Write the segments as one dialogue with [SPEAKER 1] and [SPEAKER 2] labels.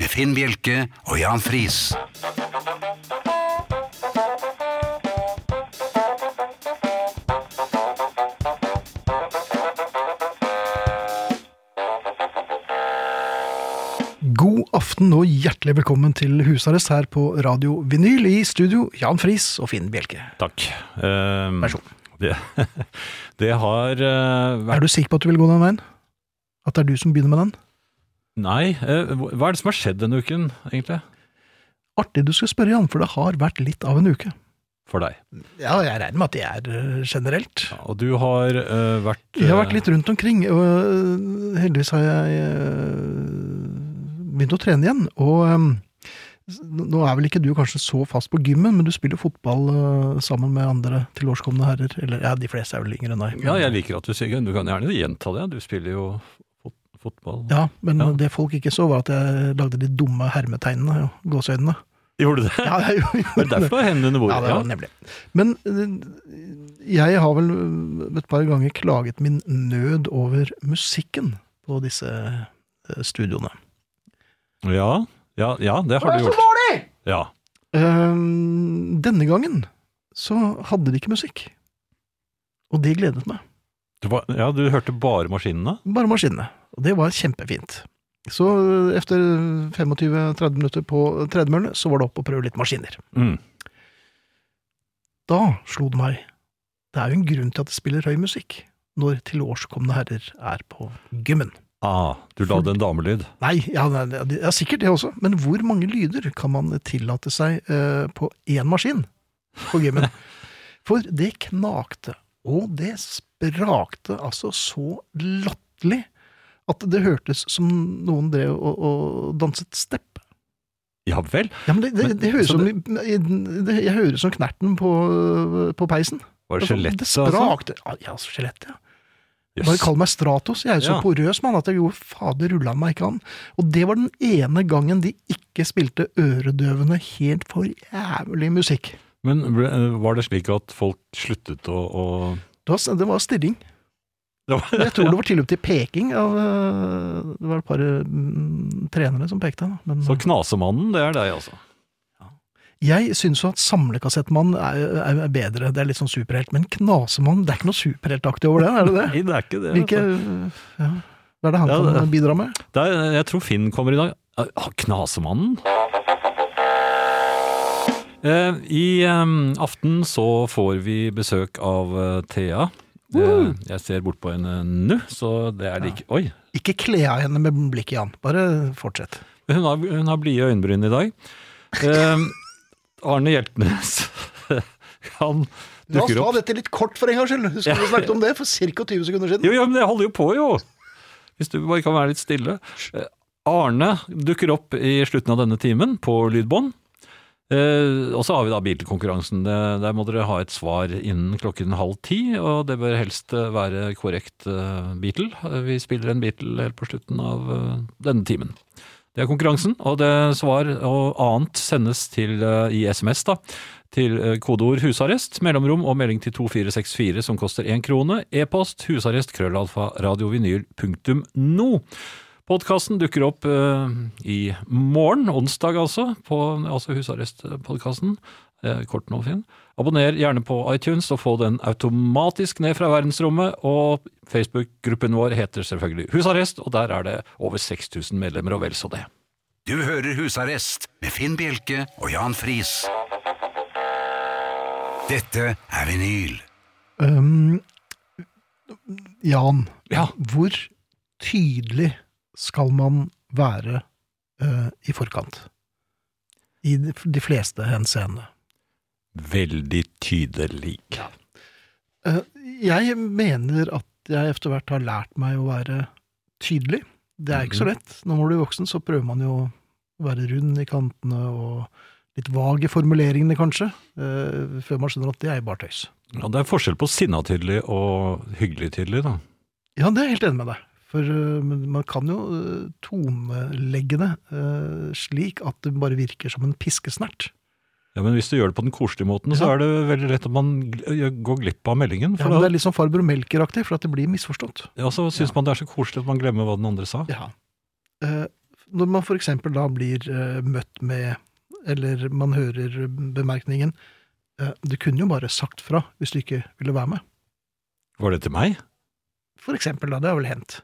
[SPEAKER 1] med Finn Bjelke og Jan Friis.
[SPEAKER 2] God aften og hjertelig velkommen til husarrest her på Radio Vinyl. I studio Jan Friis og Finn Bjelke.
[SPEAKER 3] Takk. Um,
[SPEAKER 2] Vær så god.
[SPEAKER 3] Det, det har eh, vært
[SPEAKER 2] Er du sikker på at du vil gå den veien? At det er du som begynner med den?
[SPEAKER 3] Nei, eh, hva er det som har skjedd denne uken, egentlig?
[SPEAKER 2] Artig du skal spørre, Jan, for det har vært litt av en uke.
[SPEAKER 3] For deg.
[SPEAKER 2] Ja, jeg regner med at det er øh, generelt.
[SPEAKER 3] Ja, Og du har eh, vært
[SPEAKER 2] Jeg har
[SPEAKER 3] eh,
[SPEAKER 2] vært litt rundt omkring, og øh, heldigvis har jeg øh, begynt å trene igjen. Og øhm, s- nå er vel ikke du kanskje så fast på gymmen, men du spiller fotball øh, sammen med andre tilårskomne herrer. Eller ja, de fleste er vel yngre enn deg.
[SPEAKER 3] Ja, jeg liker at du sier Du kan gjerne gjenta det. Du spiller jo fot fotball.
[SPEAKER 2] Ja, men
[SPEAKER 3] Ja.
[SPEAKER 2] det folk ikke så, var at jeg lagde de dumme hermetegnene og gåseøynene.
[SPEAKER 3] Gjorde du det?
[SPEAKER 2] Ja, jeg
[SPEAKER 3] Det er
[SPEAKER 2] gjorde det.
[SPEAKER 3] derfor du har hendene under
[SPEAKER 2] Ja,
[SPEAKER 3] bordet.
[SPEAKER 2] det var nemlig. Men eh, jeg har vel eh, et par ganger klaget min nød over musikken på disse eh, studioene.
[SPEAKER 3] ja. ja, ja, det har du gjort. Ja.
[SPEAKER 2] Eh, Denne gangen så hadde de ikke musikk. Og det gledet meg.
[SPEAKER 3] Du, var, ja, du hørte bare maskinene?
[SPEAKER 2] Bare maskinene. Og det var kjempefint. Så eh, etter 25-30 minutter på tredemølle, så var det opp å prøve litt maskiner.
[SPEAKER 3] Mm.
[SPEAKER 2] Da slo det meg. Det er jo en grunn til at det spiller høy musikk når tilårskomne herrer er på gymmen.
[SPEAKER 3] Ah, du la det en damelyd.
[SPEAKER 2] Nei, ja, nei, det- ja, sikkert det også, men hvor mange lyder kan man tillate seg eh, på én maskin på gymmen? For det knakte, og det sprakte altså så latterlig at det hørtes som noen drev og, og danset stepp.
[SPEAKER 3] Ja vel.
[SPEAKER 2] Ja, men det, det,
[SPEAKER 3] Men-
[SPEAKER 2] det høres
[SPEAKER 3] så
[SPEAKER 2] som, det, jeg hører som knerten på, på peisen.
[SPEAKER 3] Var det
[SPEAKER 2] Altså,
[SPEAKER 3] skjelettet,
[SPEAKER 2] Det sprakte. Ja, altså, skjelett, ja.
[SPEAKER 3] Jøss.
[SPEAKER 2] Bare kall meg Stratos. Jeg er jo så
[SPEAKER 3] Ja.
[SPEAKER 2] porøs, mann, at jeg jo fader rulla meg ikke an. Og det var den ene gangen de ikke spilte øredøvende, helt for jævlig musikk.
[SPEAKER 3] Men ble, eh, var det slik at folk sluttet å, å
[SPEAKER 2] Det var, det var stirring.
[SPEAKER 3] det var,
[SPEAKER 2] Jeg tror det var tilløp til peking av øh, Det var et par øh, trenere som pekte. da. Men
[SPEAKER 3] Så Knasemannen, det er deg, altså.
[SPEAKER 2] jeg syns jo at Samlekassettmann er, er bedre. Det er litt sånn superhelt. Men Knasemann, det er ikke noe superheltaktig over det, er det det?
[SPEAKER 3] Nei, det er ikke det.
[SPEAKER 2] Hvilke ja, Hva er det han
[SPEAKER 3] Ja,
[SPEAKER 2] kan
[SPEAKER 3] det-
[SPEAKER 2] bidra med?
[SPEAKER 3] altså. Det er, jeg tror Finn kommer i dag. Ah, Knasemannen? Eh, I eh, aften så får vi besøk av eh, Thea. Eh, jeg ser bort på henne nå, så det er like Oi!
[SPEAKER 2] Ikke kle av henne med blikket, Jan. Bare fortsett.
[SPEAKER 3] Hun har, hun har blide øyenbryn i dag. Eh, Arne Hjeltnes, han
[SPEAKER 2] La oss
[SPEAKER 3] dukker
[SPEAKER 2] ta
[SPEAKER 3] opp.
[SPEAKER 2] dette litt kort for en gangs skyld. Husker du vi snakket om det for ca. 20 sekunder siden?
[SPEAKER 3] Jo, jo, men det holder jo på, jo! Hvis du bare kan være litt stille. Eh, Arne dukker opp i slutten av denne timen på lydbånd. Eh, og så har vi da bilkonkurransen. Det- Der må dere ha et svar innen klokken halv ti, og det bør helst eh, være korrekt eh, Beatle. Eh, Vi spiller en Beatle helt på slutten av eh, denne timen. Det er konkurransen, og det svar og annet sendes til, eh, i SMS da, til eh, kodeord husarrest, mellomrom og melding til 2464 som koster én krone, e-post husarrest krøllalfa radiovinyl.no. Podkasten dukker opp eh, i morgen, onsdag altså, på altså Husarrestpodkasten. Eh, kort nå, Finn. Abonner gjerne på iTunes og få den automatisk ned fra verdensrommet. Og Facebook-gruppen vår heter selvfølgelig Husarrest, og der er det over 6000 medlemmer og vel så det.
[SPEAKER 1] Du hører Husarrest med Finn Bjelke og Jan Friis. Dette er vinyl.
[SPEAKER 2] Um, Jan,
[SPEAKER 3] Ja,
[SPEAKER 2] hvor tydelig skal man være eh, i forkant? I de- de fleste henseende.
[SPEAKER 3] veldig tydelig.
[SPEAKER 2] Eh, jeg mener at jeg etter hvert
[SPEAKER 3] Mhm.
[SPEAKER 2] har lært meg å være tydelig. Det er ikke så lett. Når man blir voksen, så prøver man jo å være rund i kantene og litt vag i formuleringene, kanskje, eh, før man skjønner at det er bare tøys.
[SPEAKER 3] Ja, det er forskjell på sinna tydelig og hyggelig tydelig, da.
[SPEAKER 2] Ja, det er jeg helt enig med deg. For eh, men man kan jo eh, tonelegge det eh, slik at det bare virker som en piskesnert.
[SPEAKER 3] Ja, Men hvis du gjør det på den koselige måten, så
[SPEAKER 2] Ja.
[SPEAKER 3] er det veldig lett at man gl- går glipp av meldingen.
[SPEAKER 2] Ja,
[SPEAKER 3] For
[SPEAKER 2] men det
[SPEAKER 3] da
[SPEAKER 2] er litt sånn farbror Melker-aktig, for at det blir misforstått.
[SPEAKER 3] ja, så syns man det er så koselig at man glemmer hva den andre sa.
[SPEAKER 2] Ja. Eh, Når man for eksempel da blir eh, møtt med, eller man hører bemerkningen eh, Du kunne jo bare sagt fra hvis du ikke ville være med.
[SPEAKER 3] Var det til meg?
[SPEAKER 2] For eksempel, da. Det har vel hendt.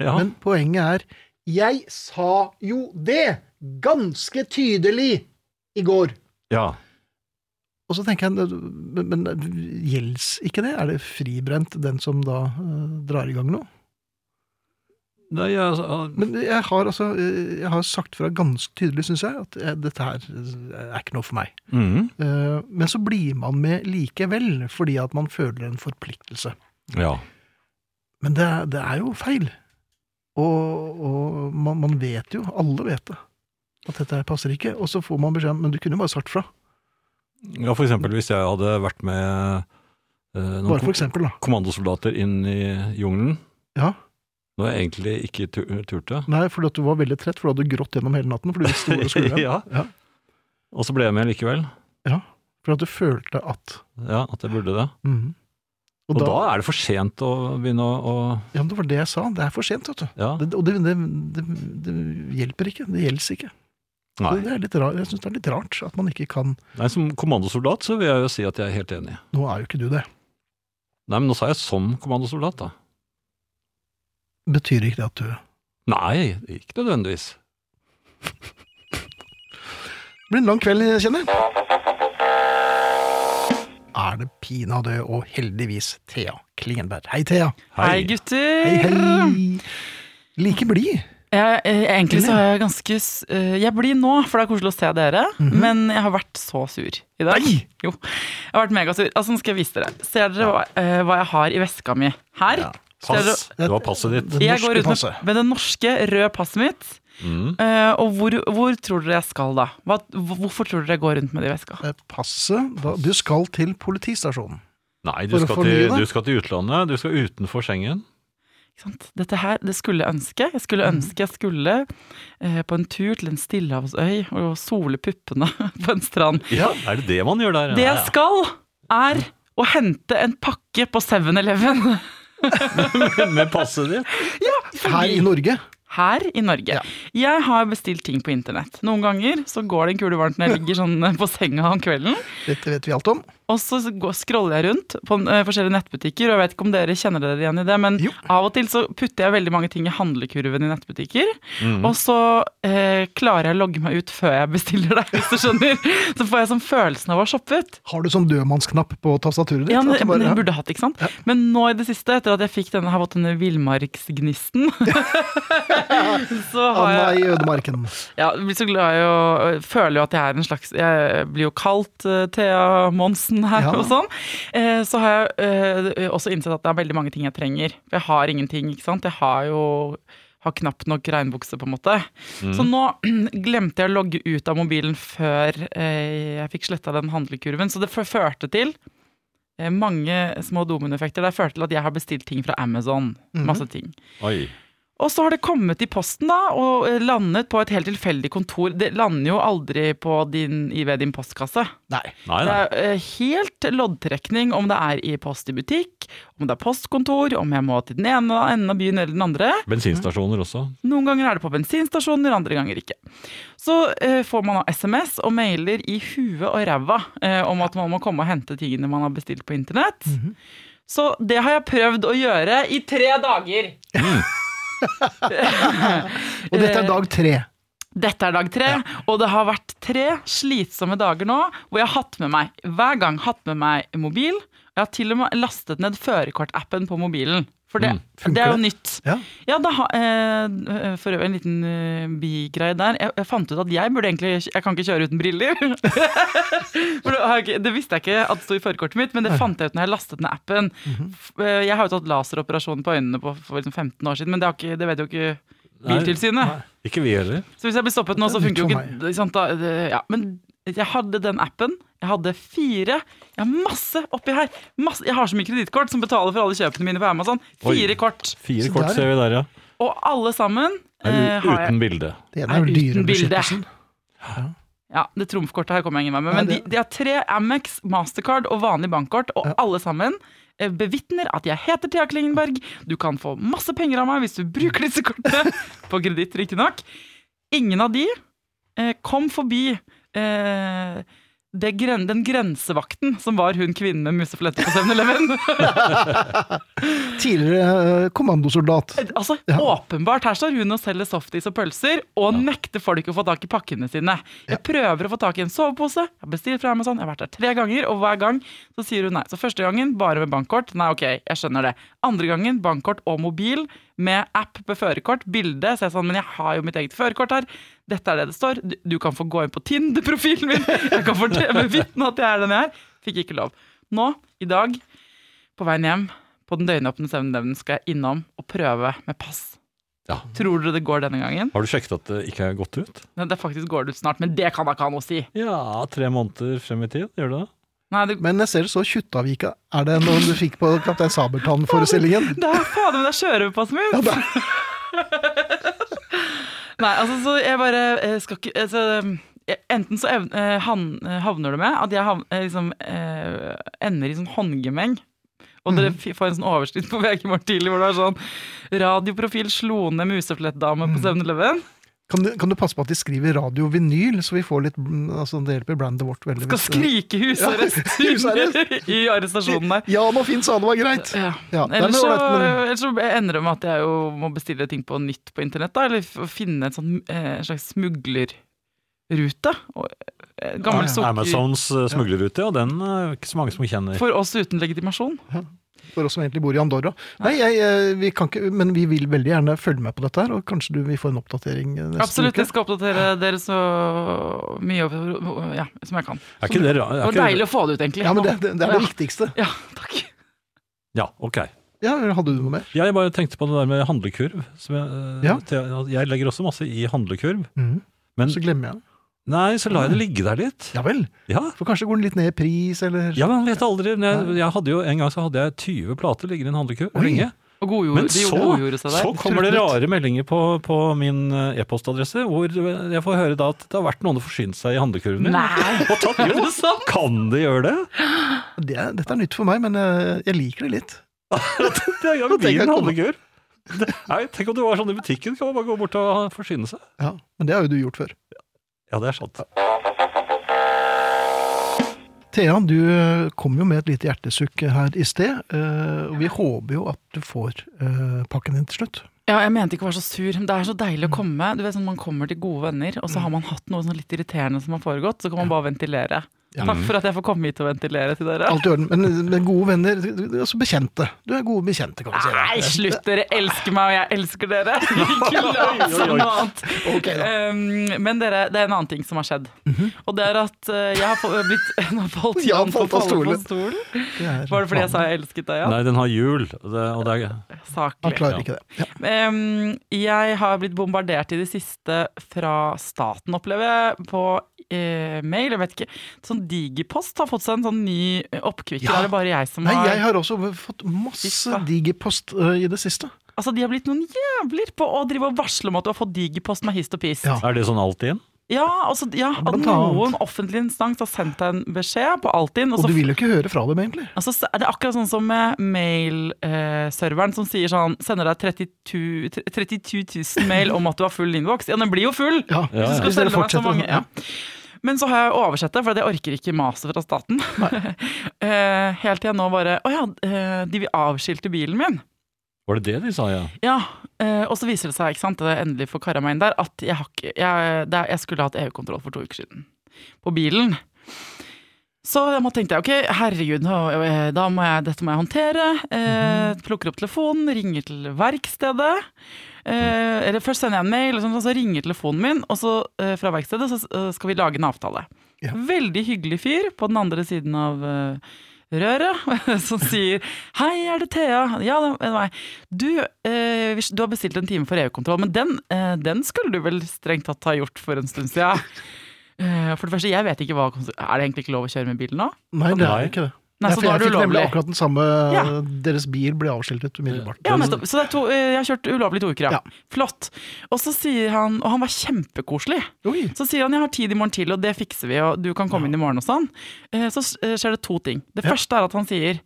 [SPEAKER 3] Ja.
[SPEAKER 2] Men poenget er Jeg sa jo det! Ganske tydelig! I går.
[SPEAKER 3] ja.
[SPEAKER 2] Og så tenker jeg, men, men gjelds ikke det? Er det fribrent den som da eh, drar i gang noe?
[SPEAKER 3] Nei, ja, altså,
[SPEAKER 2] Men jeg har altså eh, jeg har sagt fra ganske tydelig, syns jeg, at eh, dette her eh, er ikke noe for meg.
[SPEAKER 3] mhm.
[SPEAKER 2] Eh, Men så blir man med likevel, fordi at man føler en forpliktelse.
[SPEAKER 3] ja.
[SPEAKER 2] Men det, er- det er jo feil. Og, og man, man vet jo, alle vet det, at dette her passer ikke. Og så får man beskjed om Men du kunne jo bare sagt fra.
[SPEAKER 3] ja, for eksempel hvis jeg hadde vært med eh, noen
[SPEAKER 2] Bare
[SPEAKER 3] kom-
[SPEAKER 2] for eksempel, da.
[SPEAKER 3] kommandosoldater inn i jungelen,
[SPEAKER 2] Ja.
[SPEAKER 3] når jeg egentlig ikke tu- turte.
[SPEAKER 2] Nei, fordi at du var veldig trett, for du hadde grått gjennom hele natten. For du visste hvor du skulle.
[SPEAKER 3] Ja.
[SPEAKER 2] Ja.
[SPEAKER 3] Og så ble jeg med likevel.
[SPEAKER 2] For at du følte at
[SPEAKER 3] Ja, at jeg burde det.
[SPEAKER 2] Mhm.
[SPEAKER 3] Og da er det for sent å begynne å, å
[SPEAKER 2] Ja, men det var det jeg sa. Det er for sent, vet du.
[SPEAKER 3] Ja.
[SPEAKER 2] Det, og det, det, det, det hjelper ikke. Det gjelder ikke.
[SPEAKER 3] Nei.
[SPEAKER 2] Det er litt rar, jeg syns det er litt rart at man ikke kan
[SPEAKER 3] Nei, som kommandosoldat så vil jeg jo si at jeg er helt enig.
[SPEAKER 2] Nå er jo ikke du det.
[SPEAKER 3] Nei, men nå sa jeg som kommandosoldat, da.
[SPEAKER 2] Betyr ikke det at du
[SPEAKER 3] Nei, ikke nødvendigvis.
[SPEAKER 2] Det blir en lang kveld, kjenner jeg. Er det pinadø og heldigvis Thea Klingenberg. Hei, Thea.
[SPEAKER 4] Hei, gutter!
[SPEAKER 2] Hei, hei. Like blid.
[SPEAKER 4] Jeg, eh, egentlig så er jeg ganske s- eh, Jeg blir nå, for det er koselig å se dere. Men jeg har vært så sur i dag.
[SPEAKER 2] Mhm. Nei!
[SPEAKER 4] Jo, jeg har vært megasur. Altså, nå skal jeg vise dere. Ser dere hva, eh, hva jeg har i veska mi her? Ser dere,
[SPEAKER 3] Pass. Det var passet ditt.
[SPEAKER 2] Det
[SPEAKER 4] jeg
[SPEAKER 2] norske
[SPEAKER 4] går ut
[SPEAKER 2] passet.
[SPEAKER 4] med, med det norske røde passet mitt.
[SPEAKER 3] Mm.
[SPEAKER 4] Eh, og hvor, hvor tror dere jeg skal da? Hva, hvorfor tror dere jeg går rundt med det i veska?
[SPEAKER 2] Eh, Passet da, Du skal til politistasjonen.
[SPEAKER 3] Nei, du
[SPEAKER 2] For å
[SPEAKER 3] skal,
[SPEAKER 2] fornye
[SPEAKER 3] til,
[SPEAKER 2] deg?
[SPEAKER 3] du skal til utlandet. Du skal utenfor Schengen.
[SPEAKER 4] Ikke sant? Dette her, det skulle jeg ønske. Jeg skulle
[SPEAKER 2] Mhm.
[SPEAKER 4] ønske jeg skulle eh, på en tur til en stillehavsøy og sole puppene på en strand.
[SPEAKER 3] Ja, Er det det man gjør der?
[SPEAKER 4] Det
[SPEAKER 3] Ja, ja.
[SPEAKER 4] jeg skal, er å hente en pakke på 7-Eleven
[SPEAKER 3] Med passet ditt?
[SPEAKER 2] Her i Norge.
[SPEAKER 4] her i Norge. Jeg har bestilt ting på internett. Noen ganger så går det en kule varmt når jeg ligger sånn på senga om kvelden,
[SPEAKER 2] Dette vet vi alt om.
[SPEAKER 4] og så går- scroller jeg rundt på eh, forskjellige nettbutikker, og jeg vet ikke om dere kjenner dere igjen i det, men
[SPEAKER 2] Jo.
[SPEAKER 4] av og til så putter jeg veldig mange ting i handlekurven i nettbutikker,
[SPEAKER 3] Mm.
[SPEAKER 4] og så eh, klarer jeg å logge meg ut før jeg bestiller det, hvis du skjønner. Så får jeg sånn følelsen av å ha shoppet.
[SPEAKER 2] Har du sånn dødmannsknapp på tastaturet ditt?
[SPEAKER 4] Ja,
[SPEAKER 2] At du
[SPEAKER 4] men,
[SPEAKER 2] bare-
[SPEAKER 4] men jeg burde hatt, ikke sant? Men nå i det siste, etter at jeg fikk denne, har fått denne villmarksgnisten, så har
[SPEAKER 2] Anna
[SPEAKER 4] jeg
[SPEAKER 2] i ødemarken.
[SPEAKER 4] ja, jeg blir så glad i å øh, føler jo at jeg er en slags Jeg blir jo kalt eh, Thea Monsen her
[SPEAKER 2] Ja.
[SPEAKER 4] og sånn. Eh, så har jeg eh, også innsett at det er veldig mange ting jeg trenger. For jeg har ingenting, ikke sant. Jeg har jo har knapt nok regnbukse, på en måte. Så nå glemte jeg å logge ut av mobilen før eh, jeg fikk sletta den handlekurven. Så det f- førte til eh, mange små dominoeffekter. Det førte til at jeg har bestilt ting fra Amazon. Masse ting.
[SPEAKER 3] Oi.
[SPEAKER 4] Og så har det kommet i posten da, og eh, landet på et helt tilfeldig kontor. Det lander jo aldri på din, i- ved din postkasse.
[SPEAKER 2] Nei.
[SPEAKER 3] Nei,
[SPEAKER 4] Det
[SPEAKER 3] nei.
[SPEAKER 4] er eh, helt loddtrekning om det er i post i butikk, om det er postkontor, om jeg må til den ene enden av byen eller den andre.
[SPEAKER 3] Bensinstasjoner også.
[SPEAKER 4] Noen ganger er det på bensinstasjoner, andre ganger ikke. Så eh, får man da SMS og mailer i huet og ræva eh, om at man må komme og hente tingene man har bestilt på internett. Så det har jeg prøvd å gjøre i tre dager.
[SPEAKER 2] Og dette
[SPEAKER 4] Eh,
[SPEAKER 2] er dag tre.
[SPEAKER 4] Dette er dag tre, og det har vært tre slitsomme dager nå hvor jeg har hatt med meg, hver gang hatt med meg mobil. Jeg har til og med lastet ned førerkortappen på mobilen. For det,
[SPEAKER 2] Mm. funker
[SPEAKER 4] det er jo
[SPEAKER 2] det?
[SPEAKER 4] nytt.
[SPEAKER 2] Ja.
[SPEAKER 4] Ja, da, ha- eh, for øvrig en liten eh, bigreie der. Jeg, jeg fant ut at jeg burde egentlig Jeg kan ikke kjøre uten briller. for det, har jeg ikke- det visste jeg ikke at det sto i førerkortet mitt, men det fant jeg ut når jeg lastet ned appen.
[SPEAKER 2] Mhm.
[SPEAKER 4] F- eh, Jeg har jo tatt laseroperasjon på øynene på, for liksom 15 år siden, men det, har ikke, det vet jo ikke Biltilsynet.
[SPEAKER 3] Ikke vi heller.
[SPEAKER 4] Så hvis jeg blir stoppet nå, så
[SPEAKER 2] Det er
[SPEAKER 4] funker jo
[SPEAKER 2] litt
[SPEAKER 4] ikke ikke sant, da, det- ja, Men jeg hadde den appen. Jeg hadde fire. Jeg har masse oppi her. Masse, jeg har så mye kredittkort som betaler for alle kjøpene mine på Amazon. Fire
[SPEAKER 3] Oi.
[SPEAKER 4] kort.
[SPEAKER 3] Fire
[SPEAKER 2] Så
[SPEAKER 3] kort
[SPEAKER 2] der.
[SPEAKER 3] ser vi der, ja.
[SPEAKER 4] Og alle sammen eh,
[SPEAKER 3] Er
[SPEAKER 4] har jeg
[SPEAKER 3] uten bilde.
[SPEAKER 2] Det ene
[SPEAKER 4] Nei,
[SPEAKER 2] er vel
[SPEAKER 4] uten
[SPEAKER 2] dyrebeskyttelsen.
[SPEAKER 4] Ja, det trumfkortet her kommer jeg ingen vei med. Men
[SPEAKER 2] Nei,
[SPEAKER 4] de,
[SPEAKER 2] det-
[SPEAKER 4] de har tre Amex, Mastercard og vanlig bankkort, og
[SPEAKER 2] Ja.
[SPEAKER 4] alle sammen eh, bevitner at jeg heter Thea Klingenberg. Du kan få masse penger av meg hvis du bruker disse kortene. På kreditt, riktignok. Ingen av de eh, kom forbi eh, det gren den grensevakten som var hun kvinnen med musefletter på 7-Eleven.
[SPEAKER 2] Tidligere eh, kommandosoldat.
[SPEAKER 4] altså,
[SPEAKER 2] Ja.
[SPEAKER 4] Åpenbart, her står hun og selger softis og pølser, og nekter folk å få tak i pakkene sine. Jeg prøver å få tak i en sovepose, jeg har bestilt fra Amazon, jeg har vært der tre ganger, og hver gang så sier hun nei. Så første gangen bare med bankkort, nei ok, jeg skjønner det. Andre gangen bankkort og mobil, med app på førerkort, bilde, så jeg sånn, men jeg har jo mitt eget førerkort her, dette er det det står, du, du kan få gå inn på Tinder-profilen min, jeg kan få bevitne at jeg er den jeg er. Fikk ikke lov. Nå, i dag, på veien hjem, på den døgnåpne 7-Eleven skal jeg innom og prøve med pass.
[SPEAKER 3] Ja.
[SPEAKER 4] Tror dere det går denne gangen?
[SPEAKER 3] Har du sjekket at det ikke er gått ut?
[SPEAKER 4] Nei, det faktisk går det ut snart, men det kan da ikke ha noe å si.
[SPEAKER 3] Ja, tre måneder frem i tid, gjør det det?
[SPEAKER 4] Nei, det,
[SPEAKER 2] Men jeg ser det så Kjuttaviga. Er det noen du fikk på Kaptein Sabeltann-forestillingen?
[SPEAKER 4] det er fader meg, det er sjørøverpasset mitt!
[SPEAKER 2] Ja, da.
[SPEAKER 4] Nei, altså, så jeg bare eh, skal ikke altså, eh, Enten så ev- eh, han, eh, havner det med at jeg hav, eh, liksom eh, ender i sånn håndgemeng. Og dere fi- får en sånn overskrift på VG i morgen tidlig hvor det er sånn 'Radioprofil slo ned museflettdame på 7-Eleven'.
[SPEAKER 2] Kan du, kan du passe på at de skriver radiovinyl, så vi får litt mm, altså, Det hjelper brandet vårt veldig.
[SPEAKER 4] Skal
[SPEAKER 2] hvis det-
[SPEAKER 4] skrike husarrest i arrestasjonen der.
[SPEAKER 2] Jan og Finn sa det var greit.
[SPEAKER 4] Ja.
[SPEAKER 2] Ja, nei, men
[SPEAKER 4] Ellers, Eh, så,
[SPEAKER 2] ålreit, men
[SPEAKER 4] ellers så ender det med at jeg jo må bestille ting på nytt på internett, da, eller f- finne en sånn, eh, slags smuglerrute. og, eh, Gammel
[SPEAKER 2] Ah, Ja,
[SPEAKER 4] sukker
[SPEAKER 3] Amazons eh, smuglerrute, og den er ikke så mange som kjenner.
[SPEAKER 4] for oss uten legitimasjon.
[SPEAKER 2] for oss som egentlig bor i Andorra. Nei, jeg, eh, vi kan ikke, men vi vil veldig gjerne følge med på dette her, og kanskje du vil få en oppdatering eh, neste
[SPEAKER 4] Absolutt, jeg
[SPEAKER 2] uke.
[SPEAKER 4] skal oppdatere dere så mye over- ja, som jeg kan.
[SPEAKER 3] Er ikke det ra-
[SPEAKER 4] Det
[SPEAKER 3] er
[SPEAKER 4] var
[SPEAKER 3] ikke
[SPEAKER 4] deilig å få det ut, egentlig.
[SPEAKER 2] Ja, men det, det, det er det
[SPEAKER 4] Ja.
[SPEAKER 2] viktigste.
[SPEAKER 4] Ja, takk.
[SPEAKER 3] Ja, ok.
[SPEAKER 2] Ja, Hadde du noe mer?
[SPEAKER 3] Jeg bare tenkte på det der med handlekurv. Som jeg, eh,
[SPEAKER 2] Ja.
[SPEAKER 3] til- jeg legger også masse i handlekurv. Men
[SPEAKER 2] Så glemmer jeg det.
[SPEAKER 3] nei, så lar jeg det ligge der litt.
[SPEAKER 2] Ja vel.
[SPEAKER 3] Ja,
[SPEAKER 2] For kanskje går den litt ned i pris, eller
[SPEAKER 3] ja men man vet aldri. Men Jeg, jeg hadde jo, en gang så hadde jeg 20 plater liggende i en handlekurv
[SPEAKER 2] Oi.
[SPEAKER 3] lenge.
[SPEAKER 4] Og godgjorde,
[SPEAKER 3] Men
[SPEAKER 4] de
[SPEAKER 3] så,
[SPEAKER 4] godgjorde seg der.
[SPEAKER 3] så kommer det rare meldinger på, på min eh, e-postadresse, hvor jeg får høre da at det har vært noen som har forsynt seg i handlekurven min.
[SPEAKER 4] Nei,
[SPEAKER 3] Og tatt,
[SPEAKER 4] er
[SPEAKER 3] jo,
[SPEAKER 4] det sant?
[SPEAKER 3] kan de gjøre det?
[SPEAKER 2] det, er- Dette er nytt for meg, men eh, jeg liker det litt.
[SPEAKER 3] Det er jo
[SPEAKER 2] tenker jeg
[SPEAKER 3] bilen
[SPEAKER 2] kommer.
[SPEAKER 3] handlekurv. Det- Nei, tenk om det var sånn i butikken, kan man bare gå bort og forsyne seg.
[SPEAKER 2] Ja, Men det har jo du gjort før.
[SPEAKER 3] Ja, det er sant.
[SPEAKER 2] Thea, du eh, kom jo med et lite hjertesukk her i sted. eh, og vi håper jo at du får eh, pakken din til slutt.
[SPEAKER 4] Ja, jeg mente ikke å være så sur. men Det er så deilig å komme. Du vet sånn, Man kommer til gode venner, og så
[SPEAKER 2] Mm.
[SPEAKER 4] har man hatt noe sånn litt irriterende som har foregått. Så kan man bare ventilere. Takk for at jeg får komme hit og ventilere til dere.
[SPEAKER 2] Alt i orden. Men, men gode venner, altså bekjente. Du er gode bekjente, kan du si.
[SPEAKER 4] Nei, slutt! Dere elsker meg, og jeg elsker dere. Ikke lat som noe annet.
[SPEAKER 2] Ok, da.
[SPEAKER 4] Um, men dere, det er en annen ting som har skjedd.
[SPEAKER 2] Mhm.
[SPEAKER 4] Og det er at uh, jeg har få- blitt Nå falt
[SPEAKER 2] Jan
[SPEAKER 4] Jan på
[SPEAKER 2] falt av stolen.
[SPEAKER 4] stolen.
[SPEAKER 2] Det er-
[SPEAKER 4] Var det fordi jeg sa jeg elsket deg, Jan?
[SPEAKER 3] Nei, den har hjul, og det, og det er
[SPEAKER 2] Han
[SPEAKER 4] Saklig.
[SPEAKER 2] klarer ikke det. Ja.
[SPEAKER 4] Em, jeg har blitt bombardert i det siste fra staten, opplever jeg, på eh, mail. Jeg vet ikke. Sånn Digipost har fått seg en sånn ny oppkvikker.
[SPEAKER 2] Ja.
[SPEAKER 4] Er det bare jeg som
[SPEAKER 2] Nei,
[SPEAKER 4] har
[SPEAKER 2] jeg har også fått masse digipost eh, i det siste.
[SPEAKER 4] Altså, de har blitt noen jævler på å drive og varsle om at du har fått Digipost med hist og pist.
[SPEAKER 2] Ja.
[SPEAKER 3] Er det sånn alltid?
[SPEAKER 4] Ja, altså, ja at
[SPEAKER 2] Blant annet.
[SPEAKER 4] noen offentlig instans har sendt deg en beskjed på Altinn, og
[SPEAKER 2] Og
[SPEAKER 4] så
[SPEAKER 2] du vil jo ikke høre fra dem, egentlig.
[SPEAKER 4] Altså, så er det akkurat sånn som med mail-serveren som sier sånn, sender deg 32, 32 000 mail om at du har full innboks. Ja, den blir jo full!
[SPEAKER 2] Ja,
[SPEAKER 3] ja.
[SPEAKER 4] Hvis du skal
[SPEAKER 2] Hvis dere
[SPEAKER 4] selge meg så
[SPEAKER 2] fortsetter
[SPEAKER 4] mange.
[SPEAKER 2] sånn, ja.
[SPEAKER 4] Ja. Men så har jeg oversett det, for jeg orker ikke maset fra staten. Eh, Helt til jeg nå bare Å ja, eh, de vil avskilte bilen min.
[SPEAKER 3] Var det det de sa, ja?
[SPEAKER 4] Ja, eh, Og så viser det seg, ikke sant, det er endelig for kara meg inn der, at jeg, har ikke, jeg, det er, jeg skulle hatt EU-kontroll for to uker siden. På bilen. Så da må- tenkte jeg ok, herregud, nå, eh, da må jeg, dette må jeg håndtere. Eh, plukker opp telefonen, ringer til verkstedet. Eh, eller først sender jeg en mail, og sånn, så ringer telefonen min, og så eh, fra verkstedet så eh, skal vi lage en avtale.
[SPEAKER 2] Ja.
[SPEAKER 4] Veldig hyggelig fyr på den andre siden av eh, røret, som sier 'Hei, er det Thea?' 'Ja, det er meg.' Du, eh, hvis- du har bestilt en time for EU-kontroll, men den, eh, den skulle du vel strengt tatt ha gjort for en stund siden? Eh, For det første, jeg vet ikke hva konse- Er det egentlig ikke lov å kjøre med bil nå?
[SPEAKER 2] Nei, det
[SPEAKER 3] Nei.
[SPEAKER 2] er ikke det.
[SPEAKER 4] Nei,
[SPEAKER 2] Ja,
[SPEAKER 4] så
[SPEAKER 2] for
[SPEAKER 4] da er
[SPEAKER 2] jeg
[SPEAKER 4] det
[SPEAKER 2] fikk nemlig
[SPEAKER 4] ulovlig.
[SPEAKER 2] akkurat den samme eh,
[SPEAKER 4] Ja.
[SPEAKER 2] Deres bil ble avskiltet umiddelbart.
[SPEAKER 4] Ja, nettopp. Så det er to, eh, jeg har kjørt ulovlig to uker, ja.
[SPEAKER 2] Ja.
[SPEAKER 4] Flott. Og så sier han Og han var kjempekoselig.
[SPEAKER 2] Oi.
[SPEAKER 4] Så sier han jeg har tid i morgen til, og det fikser vi, og du kan komme inn i morgen og sånn. Eh, Så s- eh, skjer det to ting. Det
[SPEAKER 2] Ja.
[SPEAKER 4] første er at han sier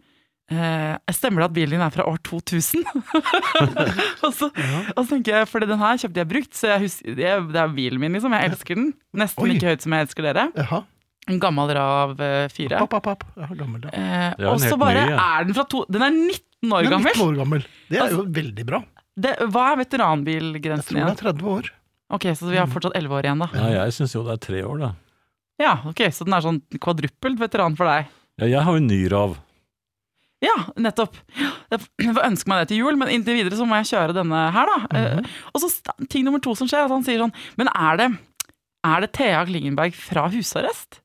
[SPEAKER 4] eh, stemmer det at bilen din er fra år 2000? og, så, og så tenker jeg, for den her kjøpte jeg brukt, så jeg husker, det, er, det er bilen min, liksom. Jeg elsker den. Nesten
[SPEAKER 2] Oi.
[SPEAKER 4] like høyt som jeg elsker dere.
[SPEAKER 2] Jaha.
[SPEAKER 4] En gammel Rav 4.
[SPEAKER 2] Papp, papp, papp. Ja, gammel, ja.
[SPEAKER 4] Eh,
[SPEAKER 3] jo en
[SPEAKER 4] og så
[SPEAKER 3] helt
[SPEAKER 4] bare
[SPEAKER 3] ny, ja.
[SPEAKER 4] er den fra to... Den er 19 år
[SPEAKER 2] Den er 19
[SPEAKER 4] gammel!
[SPEAKER 2] år gammel. Det er jo veldig bra.
[SPEAKER 4] Det, hva er
[SPEAKER 2] Jeg tror det
[SPEAKER 4] veteranbilgrensen
[SPEAKER 2] Mm.
[SPEAKER 4] igjen?
[SPEAKER 2] er 30 år.
[SPEAKER 4] Ok, Så vi har fortsatt 11 år igjen, da.
[SPEAKER 3] Nei, jeg syns jo det er tre år, da.
[SPEAKER 4] Ja, ok, Så den er sånn kvadruppelt veteran for deg?
[SPEAKER 3] Ja, jeg har jo ny rav.
[SPEAKER 4] Ja, nettopp. Jeg får ønske meg det til jul, men inntil videre så må jeg kjøre denne her, da.
[SPEAKER 2] Mhm.
[SPEAKER 4] Eh, Og så st- ting nummer to som skjer, er at han sier sånn Men er det, er det Thea Klingenberg fra husarrest?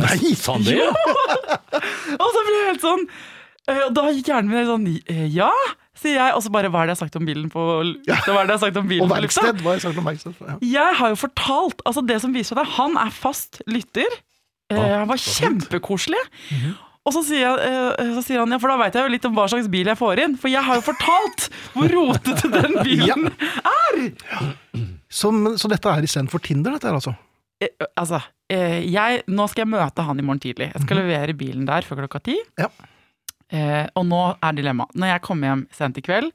[SPEAKER 2] Nei,
[SPEAKER 3] Sa han det?
[SPEAKER 4] Og så blir jeg helt sånn eh, Og da gikk hjernen min helt sånn eh, Ja, sier jeg. Og så bare Hva er det jeg har sagt om bilen på lufta? Hva er det jeg har sagt om bilen
[SPEAKER 2] Og
[SPEAKER 4] på lufta?
[SPEAKER 2] verksted. Hva har jeg sagt om verksted? Ja.
[SPEAKER 4] Jeg har jo fortalt Altså det som viser seg der, Han er fast lytter Eh,
[SPEAKER 3] Ah,
[SPEAKER 4] Han var kjempekoselig Og så sier, jeg, eh, så sier han Ja, for da vet jeg jo litt om hva slags bil jeg får inn For jeg har jo fortalt hvor rotete den bilen
[SPEAKER 2] Som, så dette er istedenfor Tinder, dette her, altså?
[SPEAKER 4] Eh, Altså, eh, jeg, nå skal jeg møte han i morgen tidlig Jeg skal levere bilen der før klokka ti
[SPEAKER 2] Mhm. Ja.
[SPEAKER 4] Eh, Og nå er dilemma Når jeg kommer hjem sent i kveld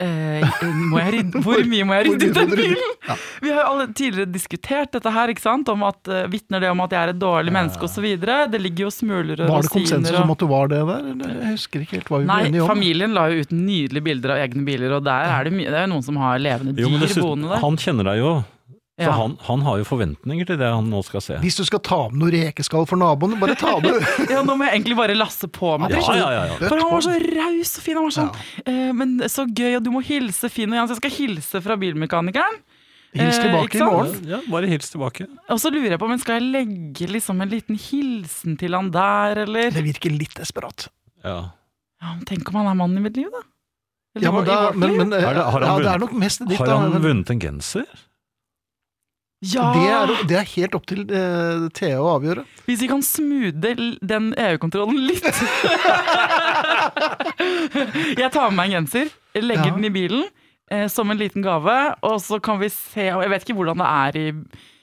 [SPEAKER 4] eh, må jeg rydde, hvor mye må jeg
[SPEAKER 2] Hvor
[SPEAKER 4] rydde
[SPEAKER 2] mye
[SPEAKER 4] ut
[SPEAKER 2] må
[SPEAKER 4] den
[SPEAKER 2] du rydde?
[SPEAKER 4] bilen?
[SPEAKER 2] Ja.
[SPEAKER 4] Vi har jo alle tidligere diskutert dette her, ikke sant? Om at, eh, vitner det om at jeg er et dårlig menneske osv. Det ligger jo smuler og
[SPEAKER 2] Var det konsensus
[SPEAKER 4] rosiner
[SPEAKER 2] om
[SPEAKER 4] og
[SPEAKER 2] at du var det der? eller? Jeg husker ikke helt hva vi ble
[SPEAKER 4] Nei,
[SPEAKER 2] enige om.
[SPEAKER 4] familien la jo ut nydelige bilder av egne biler, og der er det, mye, det er jo noen som har levende dyr
[SPEAKER 3] Jo, men dessuten,
[SPEAKER 4] boende der.
[SPEAKER 3] han kjenner deg jo. Så
[SPEAKER 4] Ja.
[SPEAKER 3] han, han har jo forventninger til det han nå skal se.
[SPEAKER 2] Hvis du skal ta med noe rekeskall for naboen, bare ta med
[SPEAKER 4] Ja, nå må jeg egentlig bare lasse på meg
[SPEAKER 3] Ja,
[SPEAKER 4] dritt.
[SPEAKER 3] ja, ja, ja.
[SPEAKER 4] For han var så raus og fin. Han var sånn eh, Men så gøy, og du må hilse Finn og Jens. Jeg skal hilse fra bilmekanikeren.
[SPEAKER 2] Hils
[SPEAKER 4] Eh,
[SPEAKER 2] tilbake
[SPEAKER 4] ikke
[SPEAKER 2] i
[SPEAKER 4] sant?
[SPEAKER 2] morgen.
[SPEAKER 3] Ja, bare hils tilbake.
[SPEAKER 4] Og så lurer jeg på, men skal jeg legge liksom en liten hilsen til han der, eller?
[SPEAKER 2] Det virker litt desperat.
[SPEAKER 3] Ja.
[SPEAKER 4] Ja, men tenk om han er mannen i mitt liv, da. Eller
[SPEAKER 2] Ja, men
[SPEAKER 4] i vår- i
[SPEAKER 2] da,
[SPEAKER 4] vårt
[SPEAKER 2] men,
[SPEAKER 4] liv.
[SPEAKER 2] men, eh,
[SPEAKER 3] Er det- har han
[SPEAKER 2] ja, det
[SPEAKER 3] vunnet?
[SPEAKER 2] er nok mest ditt,
[SPEAKER 3] Har
[SPEAKER 2] da.
[SPEAKER 3] han
[SPEAKER 2] men-
[SPEAKER 3] vunnet en genser?
[SPEAKER 4] ja,
[SPEAKER 2] Det er, det er helt opp til eh, Thea å avgjøre.
[SPEAKER 4] Hvis vi kan smoothe l- den EU-kontrollen litt Jeg tar med meg en genser, legger
[SPEAKER 2] Ja.
[SPEAKER 4] den i bilen eh, som en liten gave, og så kan vi se og Jeg vet ikke hvordan det er i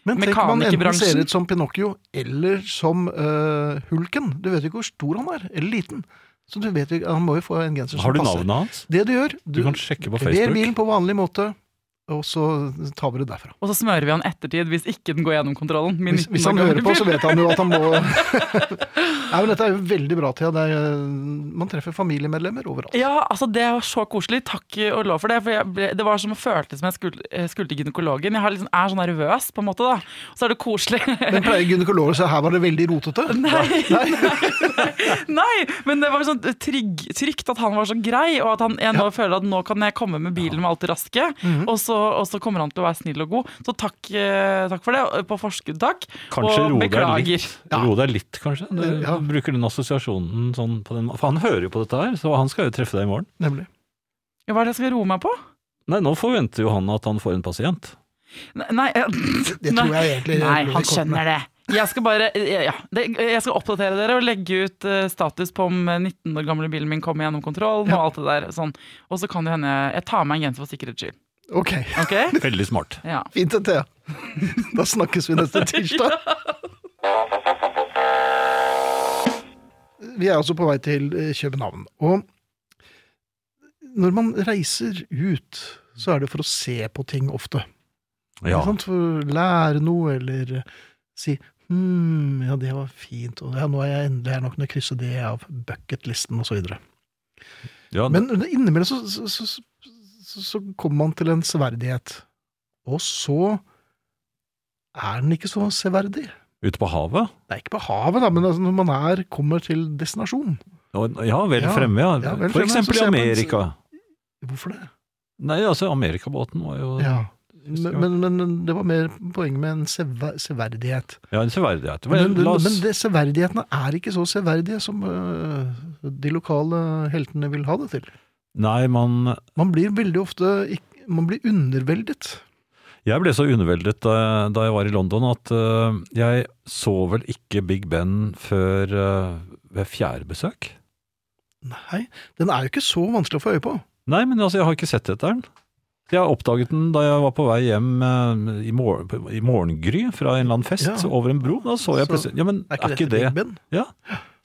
[SPEAKER 2] Men tenk om han enten
[SPEAKER 4] Mekanikerbransjen.
[SPEAKER 2] ser ut som Pinocchio eller som eh, Hulken. Du vet jo ikke hvor stor han er, eller liten. Så du vet jo, ikke- han må jo få en genser som
[SPEAKER 3] Har du
[SPEAKER 2] passer.
[SPEAKER 3] navnet hans?
[SPEAKER 2] Det du gjør,
[SPEAKER 3] Du kan sjekke på
[SPEAKER 2] lever
[SPEAKER 3] Facebook.
[SPEAKER 2] bilen på vanlig måte, og så tar vi det derfra.
[SPEAKER 4] Og så smører vi han ettertid hvis ikke den går gjennom kontrollen. Min
[SPEAKER 2] Hvis, hvis
[SPEAKER 4] 19 år
[SPEAKER 2] han
[SPEAKER 4] gamle
[SPEAKER 2] hører på,
[SPEAKER 4] bil.
[SPEAKER 2] så vet han jo at han må Nei, men Dette er jo veldig bra, Thea. Det er, eh, man treffer familiemedlemmer overalt.
[SPEAKER 4] Ja, altså det var så koselig. Takk og lov for det. For jeg ble, det var som å følte som jeg skulle, eh, skulle til gynekologen. Jeg har liksom, er sånn nervøs, på en måte, da. Og så er det koselig.
[SPEAKER 2] Men pleier gynekologer å si her var det veldig rotete?
[SPEAKER 4] Nei, nei, men det var sånn trygg, trygt at han var så grei, og at han, jeg nå føler at nå kan jeg komme med bilen med alt det raske,
[SPEAKER 2] Mhm.
[SPEAKER 4] og, så, og så kommer han til å være snill og god. Så takk, eh, takk for det, og på forskudd takk,
[SPEAKER 3] Kanskje
[SPEAKER 4] og
[SPEAKER 3] roe deg
[SPEAKER 4] beklager.
[SPEAKER 3] litt, ro deg litt kanskje? Du
[SPEAKER 2] Ja.
[SPEAKER 3] bruker den assosiasjonen sånn på den For han hører jo på dette her, så han skal jo treffe deg i morgen.
[SPEAKER 2] Nemlig.
[SPEAKER 4] Ja, Hva er det jeg skal roe meg på?
[SPEAKER 3] Nei, nå forventer jo han at han får en pasient.
[SPEAKER 4] Nei, nei, eh,
[SPEAKER 2] Det
[SPEAKER 4] nei.
[SPEAKER 2] tror jeg egentlig
[SPEAKER 4] Nei, han skjønner det. Jeg skal bare, eh, ja, det, jeg skal oppdatere dere og legge ut eh, status på om eh, 19 år gamle bilen min kommer gjennom kontrollen og alt det der. Sånn. Og så kan det hende jeg- jeg tar meg en genser for sikkerhets skyld.
[SPEAKER 2] Ok,
[SPEAKER 4] Ok?
[SPEAKER 3] Veldig smart.
[SPEAKER 4] Ja.
[SPEAKER 2] fint det, Thea. Da snakkes vi neste tirsdag. Vi er altså på vei til eh, København. Og når man reiser ut, så er det for å se på ting ofte.
[SPEAKER 3] Ja.
[SPEAKER 2] Ikke sant? For å lære noe, eller eh, si hm, ja, det var fint, og ja, nå er jeg endelig her, nå kan jeg krysse det av bucketlisten, og så videre.
[SPEAKER 3] ja
[SPEAKER 2] Men innimellom så, så, så, så, så kommer man til en severdighet, og så er den ikke så severdig.
[SPEAKER 3] Ute på havet?
[SPEAKER 2] Det er ikke på havet, da, men altså, når man er, kommer til destinasjon.
[SPEAKER 3] Og- Ja, vel
[SPEAKER 2] Ja,
[SPEAKER 3] fremme, ja.
[SPEAKER 2] ja, vel
[SPEAKER 3] For
[SPEAKER 2] fremme, så
[SPEAKER 3] eksempel
[SPEAKER 2] ser
[SPEAKER 3] i
[SPEAKER 2] man-
[SPEAKER 3] Amerika.
[SPEAKER 2] Hvorfor det?
[SPEAKER 3] Nei, altså, Amerikabåten var jo
[SPEAKER 2] Ja. Men, men, men det var mer poenget med en sever, severdighet.
[SPEAKER 3] Ja, en severdighet.
[SPEAKER 2] Men,
[SPEAKER 3] Men,
[SPEAKER 2] men,
[SPEAKER 3] la oss,
[SPEAKER 2] men det, severdighetene er ikke så severdige som øh, de lokale heltene vil ha det til.
[SPEAKER 3] Nei, man
[SPEAKER 2] Man blir veldig ofte ikk- man blir underveldet.
[SPEAKER 3] Jeg ble så underveldet da, da jeg var i London at øh, jeg så vel ikke Big Ben før øh, ved fjerde besøk.
[SPEAKER 2] Nei, den er jo ikke så vanskelig å få øye på.
[SPEAKER 3] Nei, men altså, jeg har ikke sett etter den. Jeg oppdaget den da jeg var på vei hjem øh, i, mor i morgengry fra en eller annen fest
[SPEAKER 2] Ja.
[SPEAKER 3] over en bro. Da så jeg
[SPEAKER 2] Så
[SPEAKER 3] plutselig Ja, men
[SPEAKER 2] Er ikke, dette
[SPEAKER 3] det
[SPEAKER 2] Big Ben?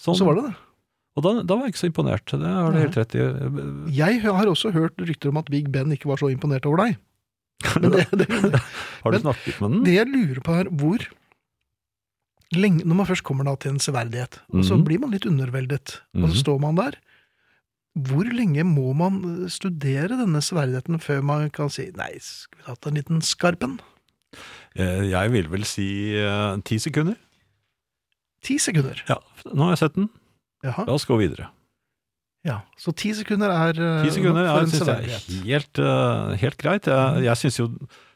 [SPEAKER 3] sånn?
[SPEAKER 2] Så var det det.
[SPEAKER 3] Og da, da var jeg ikke så imponert. Det har du helt rett i.
[SPEAKER 2] Jeg har også hørt rykter om at Big Ben ikke var så imponert over deg. Men det, det,
[SPEAKER 3] Har du
[SPEAKER 2] Men-
[SPEAKER 3] snakket med den?
[SPEAKER 2] det jeg lurer på her, hvor lenge, Når man først kommer da til en severdighet, og så
[SPEAKER 3] Mhm.
[SPEAKER 2] blir man litt underveldet, og
[SPEAKER 3] Mhm.
[SPEAKER 2] så står man der. Hvor lenge må man eh, studere denne severdigheten før man kan si nei, skulle vi hatt en liten skarpen?
[SPEAKER 3] Eh, Jeg vil vel si eh, ti sekunder.
[SPEAKER 2] Ti sekunder.
[SPEAKER 3] Ja, nå har jeg sett den.
[SPEAKER 2] Jaha.
[SPEAKER 3] La oss gå videre.
[SPEAKER 2] Ja. Så ti sekunder er eh,
[SPEAKER 3] Ti sekunder
[SPEAKER 2] for
[SPEAKER 3] er,
[SPEAKER 2] en
[SPEAKER 3] synes jeg
[SPEAKER 2] severdighet.
[SPEAKER 3] er helt, eh, helt greit. Jeg, jeg syns jo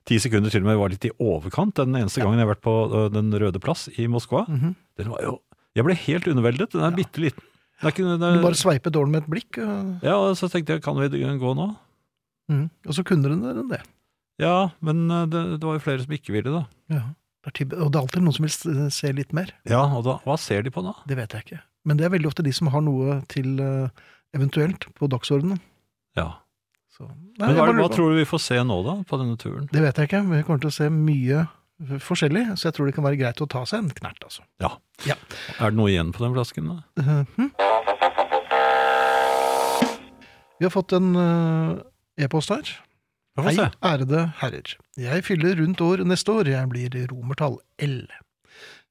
[SPEAKER 3] ti sekunder til og med var litt i overkant. Den eneste gangen jeg har vært på eh, Den røde plass i Moskva.
[SPEAKER 2] Mhm.
[SPEAKER 3] Den var jo, jeg ble helt underveldet. Den er
[SPEAKER 2] Ja.
[SPEAKER 3] bitte liten. Det er ikke, den
[SPEAKER 2] Du
[SPEAKER 3] er,
[SPEAKER 2] bare sveipet dårlig med et blikk, og,
[SPEAKER 3] ja, og så tenkte jeg, kan vi gå nå?
[SPEAKER 2] mhm. og så kunne den der enn det.
[SPEAKER 3] Ja, men eh, det, det var jo flere som ikke ville, da.
[SPEAKER 2] Ja. Det er typ- Og det er alltid noen som vil s- se litt mer.
[SPEAKER 3] Ja, og da, hva ser de på da?
[SPEAKER 2] Det vet jeg ikke. Men det er veldig ofte de som har noe til eh, eventuelt på dagsordenen.
[SPEAKER 3] Ja.
[SPEAKER 2] Så, nei,
[SPEAKER 3] Men
[SPEAKER 2] jeg
[SPEAKER 3] hva,
[SPEAKER 2] bare
[SPEAKER 3] hva
[SPEAKER 2] lurer på.
[SPEAKER 3] tror du vi får se nå, da, på denne turen?
[SPEAKER 2] Det vet jeg ikke, men vi kommer til å se mye forskjellig, så jeg tror det kan være greit å ta seg en knert, altså.
[SPEAKER 3] Ja.
[SPEAKER 2] Ja.
[SPEAKER 3] Er det noe igjen på den flasken? da?
[SPEAKER 2] Eh, hm? Vi har fått en eh, e-post her.
[SPEAKER 3] Vi får
[SPEAKER 2] Hei,
[SPEAKER 3] se.
[SPEAKER 2] ærede herrer. Jeg fyller rundt år neste år, jeg blir romertall L.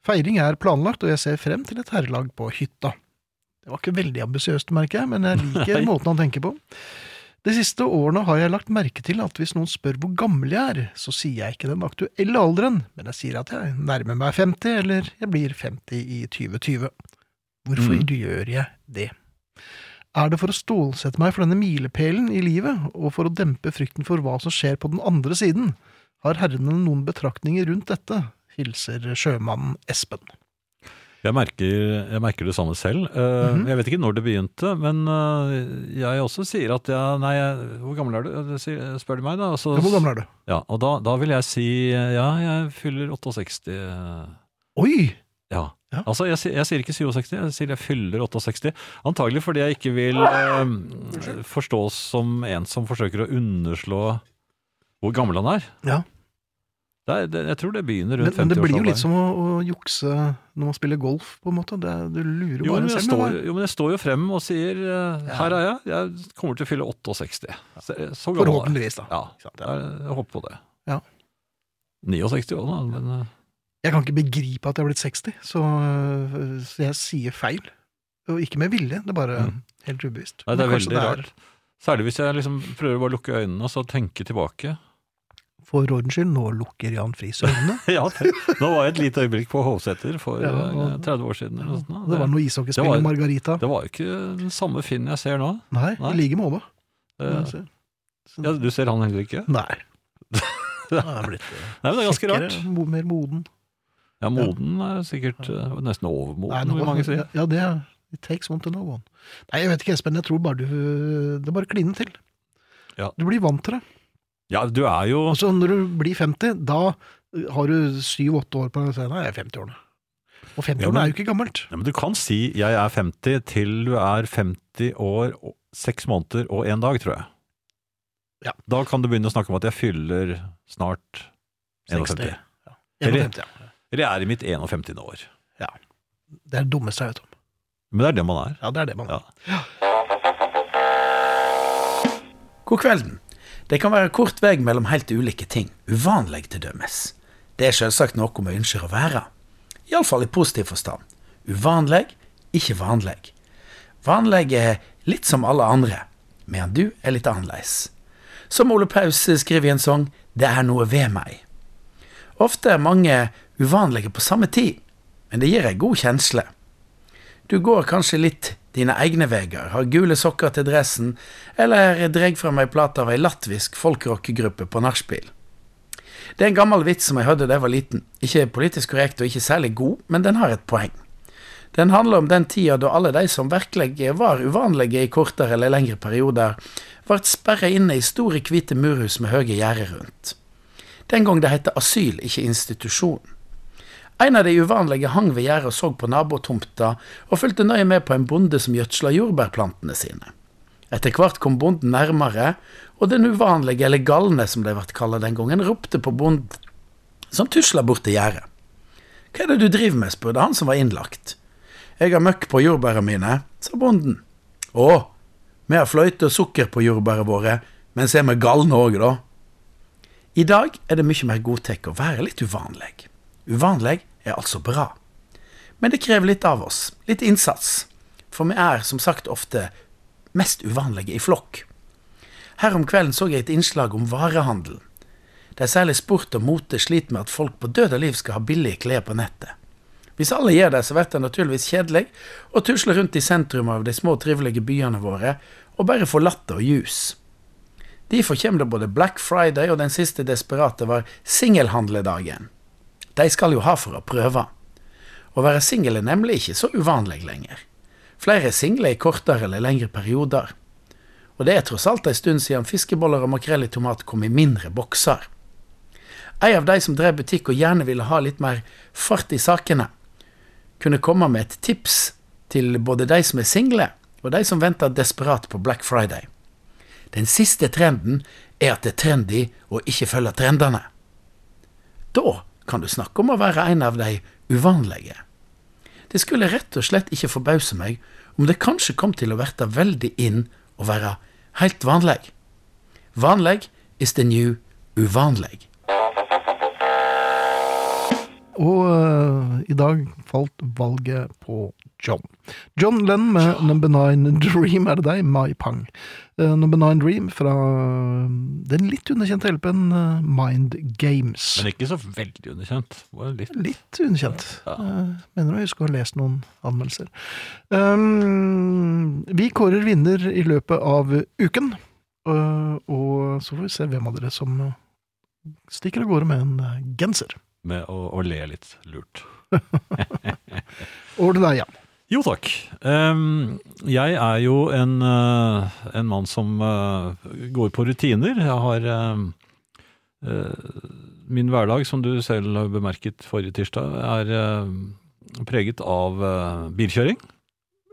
[SPEAKER 2] Feiring er planlagt, og jeg ser frem til et herrelag på hytta. Det var ikke veldig ambisiøst, merker jeg, men jeg liker
[SPEAKER 3] Nei.
[SPEAKER 2] måten han tenker på. De siste årene har jeg lagt merke til at hvis noen spør hvor gammel jeg er, så sier jeg ikke den aktuelle alderen, men jeg sier at jeg nærmer meg 50, eller jeg blir 50 i 2020. Hvorfor
[SPEAKER 3] Mm.
[SPEAKER 2] gjør jeg det? Er det for å stålsette meg for denne milepælen i livet, og for å dempe frykten for hva som skjer på den andre siden? Har herrene noen betraktninger rundt dette? Hilser sjømannen Espen.
[SPEAKER 3] Jeg merker, jeg merker det samme selv. Eh,
[SPEAKER 2] Mhm.
[SPEAKER 3] Jeg vet ikke når det begynte, men eh, jeg også sier at jeg Nei, jeg, hvor gammel er du? Det sier- Spør de meg, da. og Så,
[SPEAKER 2] Ja, Hvor gammel er du?
[SPEAKER 3] Ja, og da, da vil jeg si eh, ja, jeg fyller 68. eh,
[SPEAKER 2] Oi!
[SPEAKER 3] Ja.
[SPEAKER 2] Ja.
[SPEAKER 3] Altså, jeg, sier- jeg sier ikke 67, jeg sier jeg fyller 68. Antagelig fordi jeg ikke vil eh, forstås som en som forsøker å underslå hvor gammel han er.
[SPEAKER 2] Ja.
[SPEAKER 3] Det er det, jeg tror det begynner
[SPEAKER 2] Men,
[SPEAKER 3] rundt 50
[SPEAKER 2] men det blir jo litt som å, å jukse når man spiller golf, på en måte. Det, er- du lurer
[SPEAKER 3] Jo,
[SPEAKER 2] jo bare
[SPEAKER 3] men jeg,
[SPEAKER 2] selv.
[SPEAKER 3] står,
[SPEAKER 2] men det-
[SPEAKER 3] jo, men jeg står jo frem og sier eh, her er jeg, jeg kommer til å fylle 68. Så, så gammel er jeg.
[SPEAKER 2] Forhåpentligvis, da.
[SPEAKER 3] Ja,
[SPEAKER 2] Ikke sant, ja.
[SPEAKER 3] jeg, jeg håper på det.
[SPEAKER 2] Ja.
[SPEAKER 3] 69 år, da. Men, eh,
[SPEAKER 2] Jeg kan ikke begripe at jeg er blitt 60, så, øh, så jeg sier feil. Og ikke med vilje, det er bare
[SPEAKER 3] Mm.
[SPEAKER 2] helt ubevisst.
[SPEAKER 3] nei, det
[SPEAKER 2] Men
[SPEAKER 3] er
[SPEAKER 2] kanskje
[SPEAKER 3] veldig rart. Særlig hvis jeg liksom prøver å bare lukke øynene og så tenke tilbake.
[SPEAKER 2] For ordens skyld, nå lukker Jan Friis øynene.
[SPEAKER 3] ja, det, nå var jeg et lite øyeblikk på Hovseter for
[SPEAKER 2] Ja, og-
[SPEAKER 3] eh, 30 år siden. Eller noe sånt, da.
[SPEAKER 2] Det var noe
[SPEAKER 3] det
[SPEAKER 2] ishockeyspill
[SPEAKER 3] var-
[SPEAKER 2] og Margarita.
[SPEAKER 3] det var jo ikke den samme Finn jeg ser nå.
[SPEAKER 2] Nei,
[SPEAKER 3] Nei.
[SPEAKER 2] i like måte.
[SPEAKER 3] Eh,
[SPEAKER 2] Så-
[SPEAKER 3] ja, du ser han heller ikke.
[SPEAKER 2] Nei. Det er blitt eh,
[SPEAKER 3] Nei, men det er ganske rart.
[SPEAKER 2] kjekkere, mo- mer moden.
[SPEAKER 3] Ja, Moden er sikkert eh, nesten
[SPEAKER 2] Nei,
[SPEAKER 3] overmoden,
[SPEAKER 2] nå-
[SPEAKER 3] vil mange si.
[SPEAKER 2] Ja, det er It takes one to know one. Nei, jeg vet ikke, Espen. Jeg tror bare du Det bare kliner til.
[SPEAKER 3] Ja.
[SPEAKER 2] Du blir vant til det.
[SPEAKER 3] Ja, du er jo
[SPEAKER 2] Og så når du blir 50, da eh, har du syv-åtte år på deg. og sier, Nei, jeg er 50-årene. Og 50-årene
[SPEAKER 3] men-
[SPEAKER 2] er jo ikke gammelt.
[SPEAKER 3] Ja, men du kan si 'jeg er 50' til du er 50 år, og- seks måneder og én dag, tror jeg.
[SPEAKER 2] Ja.
[SPEAKER 3] Da kan du begynne å snakke om at jeg fyller snart 51.
[SPEAKER 2] 60. Ja.
[SPEAKER 3] Eller-
[SPEAKER 2] 51, ja.
[SPEAKER 3] Eller jeg er i mitt 51. år.
[SPEAKER 2] Det er det dummeste jeg vet om.
[SPEAKER 3] Men det er det man er.
[SPEAKER 2] Ja, det er det man
[SPEAKER 3] Ja.
[SPEAKER 5] God kvelden. Det kan være kort vei mellom helt ulike ting, uvanlig til dømes. Det er selvsagt noe vi ønsker å være. Iallfall i positiv forstand. Uvanlig, ikke vanlig. Vanlig er litt som alle andre, men du er litt annerledes. Som Ole Paus skriver i en sang, det er noe ved meg. Ofte er mange uvanlige på samme tid, men det gir ei god kjensle. Du går kanskje litt dine egne veier, har gule sokker til dressen, eller dreg fram ei plate av ei latvisk folkrockegruppe på nachspiel. Det er en gammel vits som jeg hørte da jeg var liten. Ikke politisk korrekt og ikke særlig god, men den har et poeng. Den handler om den tida da alle de som virkelig var uvanlige i kortere eller lengre perioder, ble sperra inne i store, hvite murhus med høye gjerder rundt. Den gang det het asyl, ikke institusjon. En av de uvanlige hang ved gjerdet og så på nabotomta, og fulgte nøye med på en bonde som gjødsla jordbærplantene sine. Etter hvert kom bonden nærmere, og den uvanlige, eller galne som de ble kalla den gangen, ropte på bonden, som tusla bort til gjerdet. Hva er det du driver med, spurte han som var innlagt. Jeg har møkk på jordbæra mine, sa bonden. Å, vi har fløyte og sukker på jordbæra våre, men så er vi galne òg, da. I dag er det mye mer godtatt å være litt uvanlig. Uvanlig er altså bra. Men det krever litt av oss, litt innsats, for vi er som sagt ofte mest uvanlige i flokk. Her om kvelden så jeg et innslag om varehandel. Det er særlig sport og mote sliter med at folk på død og liv skal ha billige klær på nettet. Hvis alle gjør det, så blir det naturligvis kjedelig å tusle rundt i sentrum av de små, trivelige byene våre og bare få latter og jus. Derfor kommer det både Black Friday og den siste desperate var singelhandledagen. De skal jo ha for å prøve. Å være singel er nemlig ikke så uvanlig lenger. Flere er single i kortere eller lengre perioder. Og det er tross alt en stund siden fiskeboller og makrell i tomat kom i mindre bokser. En av de som drev butikk og gjerne ville ha litt mer fart i sakene, kunne komme med et tips til både de som er single, og de som venter desperat på Black Friday. Den siste trenden er at det er trendy å ikke følge trendene. Da kan du snakke om å være en av de uvanlige. Det skulle rett og slett ikke forbause meg om det kanskje kom til å verte veldig inn å være helt vanlig. Vanlig is the new uvanlig.
[SPEAKER 2] Og eh, i dag falt valget på John. John Lennon med Number Nine Dream, er det deg? Mai Pang. Eh, Number Nine Dream fra eh, den litt underkjente LP-en eh, Mind Games.
[SPEAKER 3] Men ikke så veldig underkjent. Bare litt.
[SPEAKER 2] Litt underkjent. Eh, Mener å huske å ha lest noen anmeldelser. Um, vi kårer vinner i løpet av uken. eh, og så får vi se hvem av dere som eh, stikker av gårde med en eh, genser.
[SPEAKER 3] Med å, å le litt lurt.
[SPEAKER 2] Over til deg, Jan.
[SPEAKER 3] Jo takk. Ehm, jeg er jo en, eh, en mann som eh, går på rutiner. Jeg har ehm, eh, Min hverdag, som du selv har bemerket forrige tirsdag, er eh, preget av eh, bilkjøring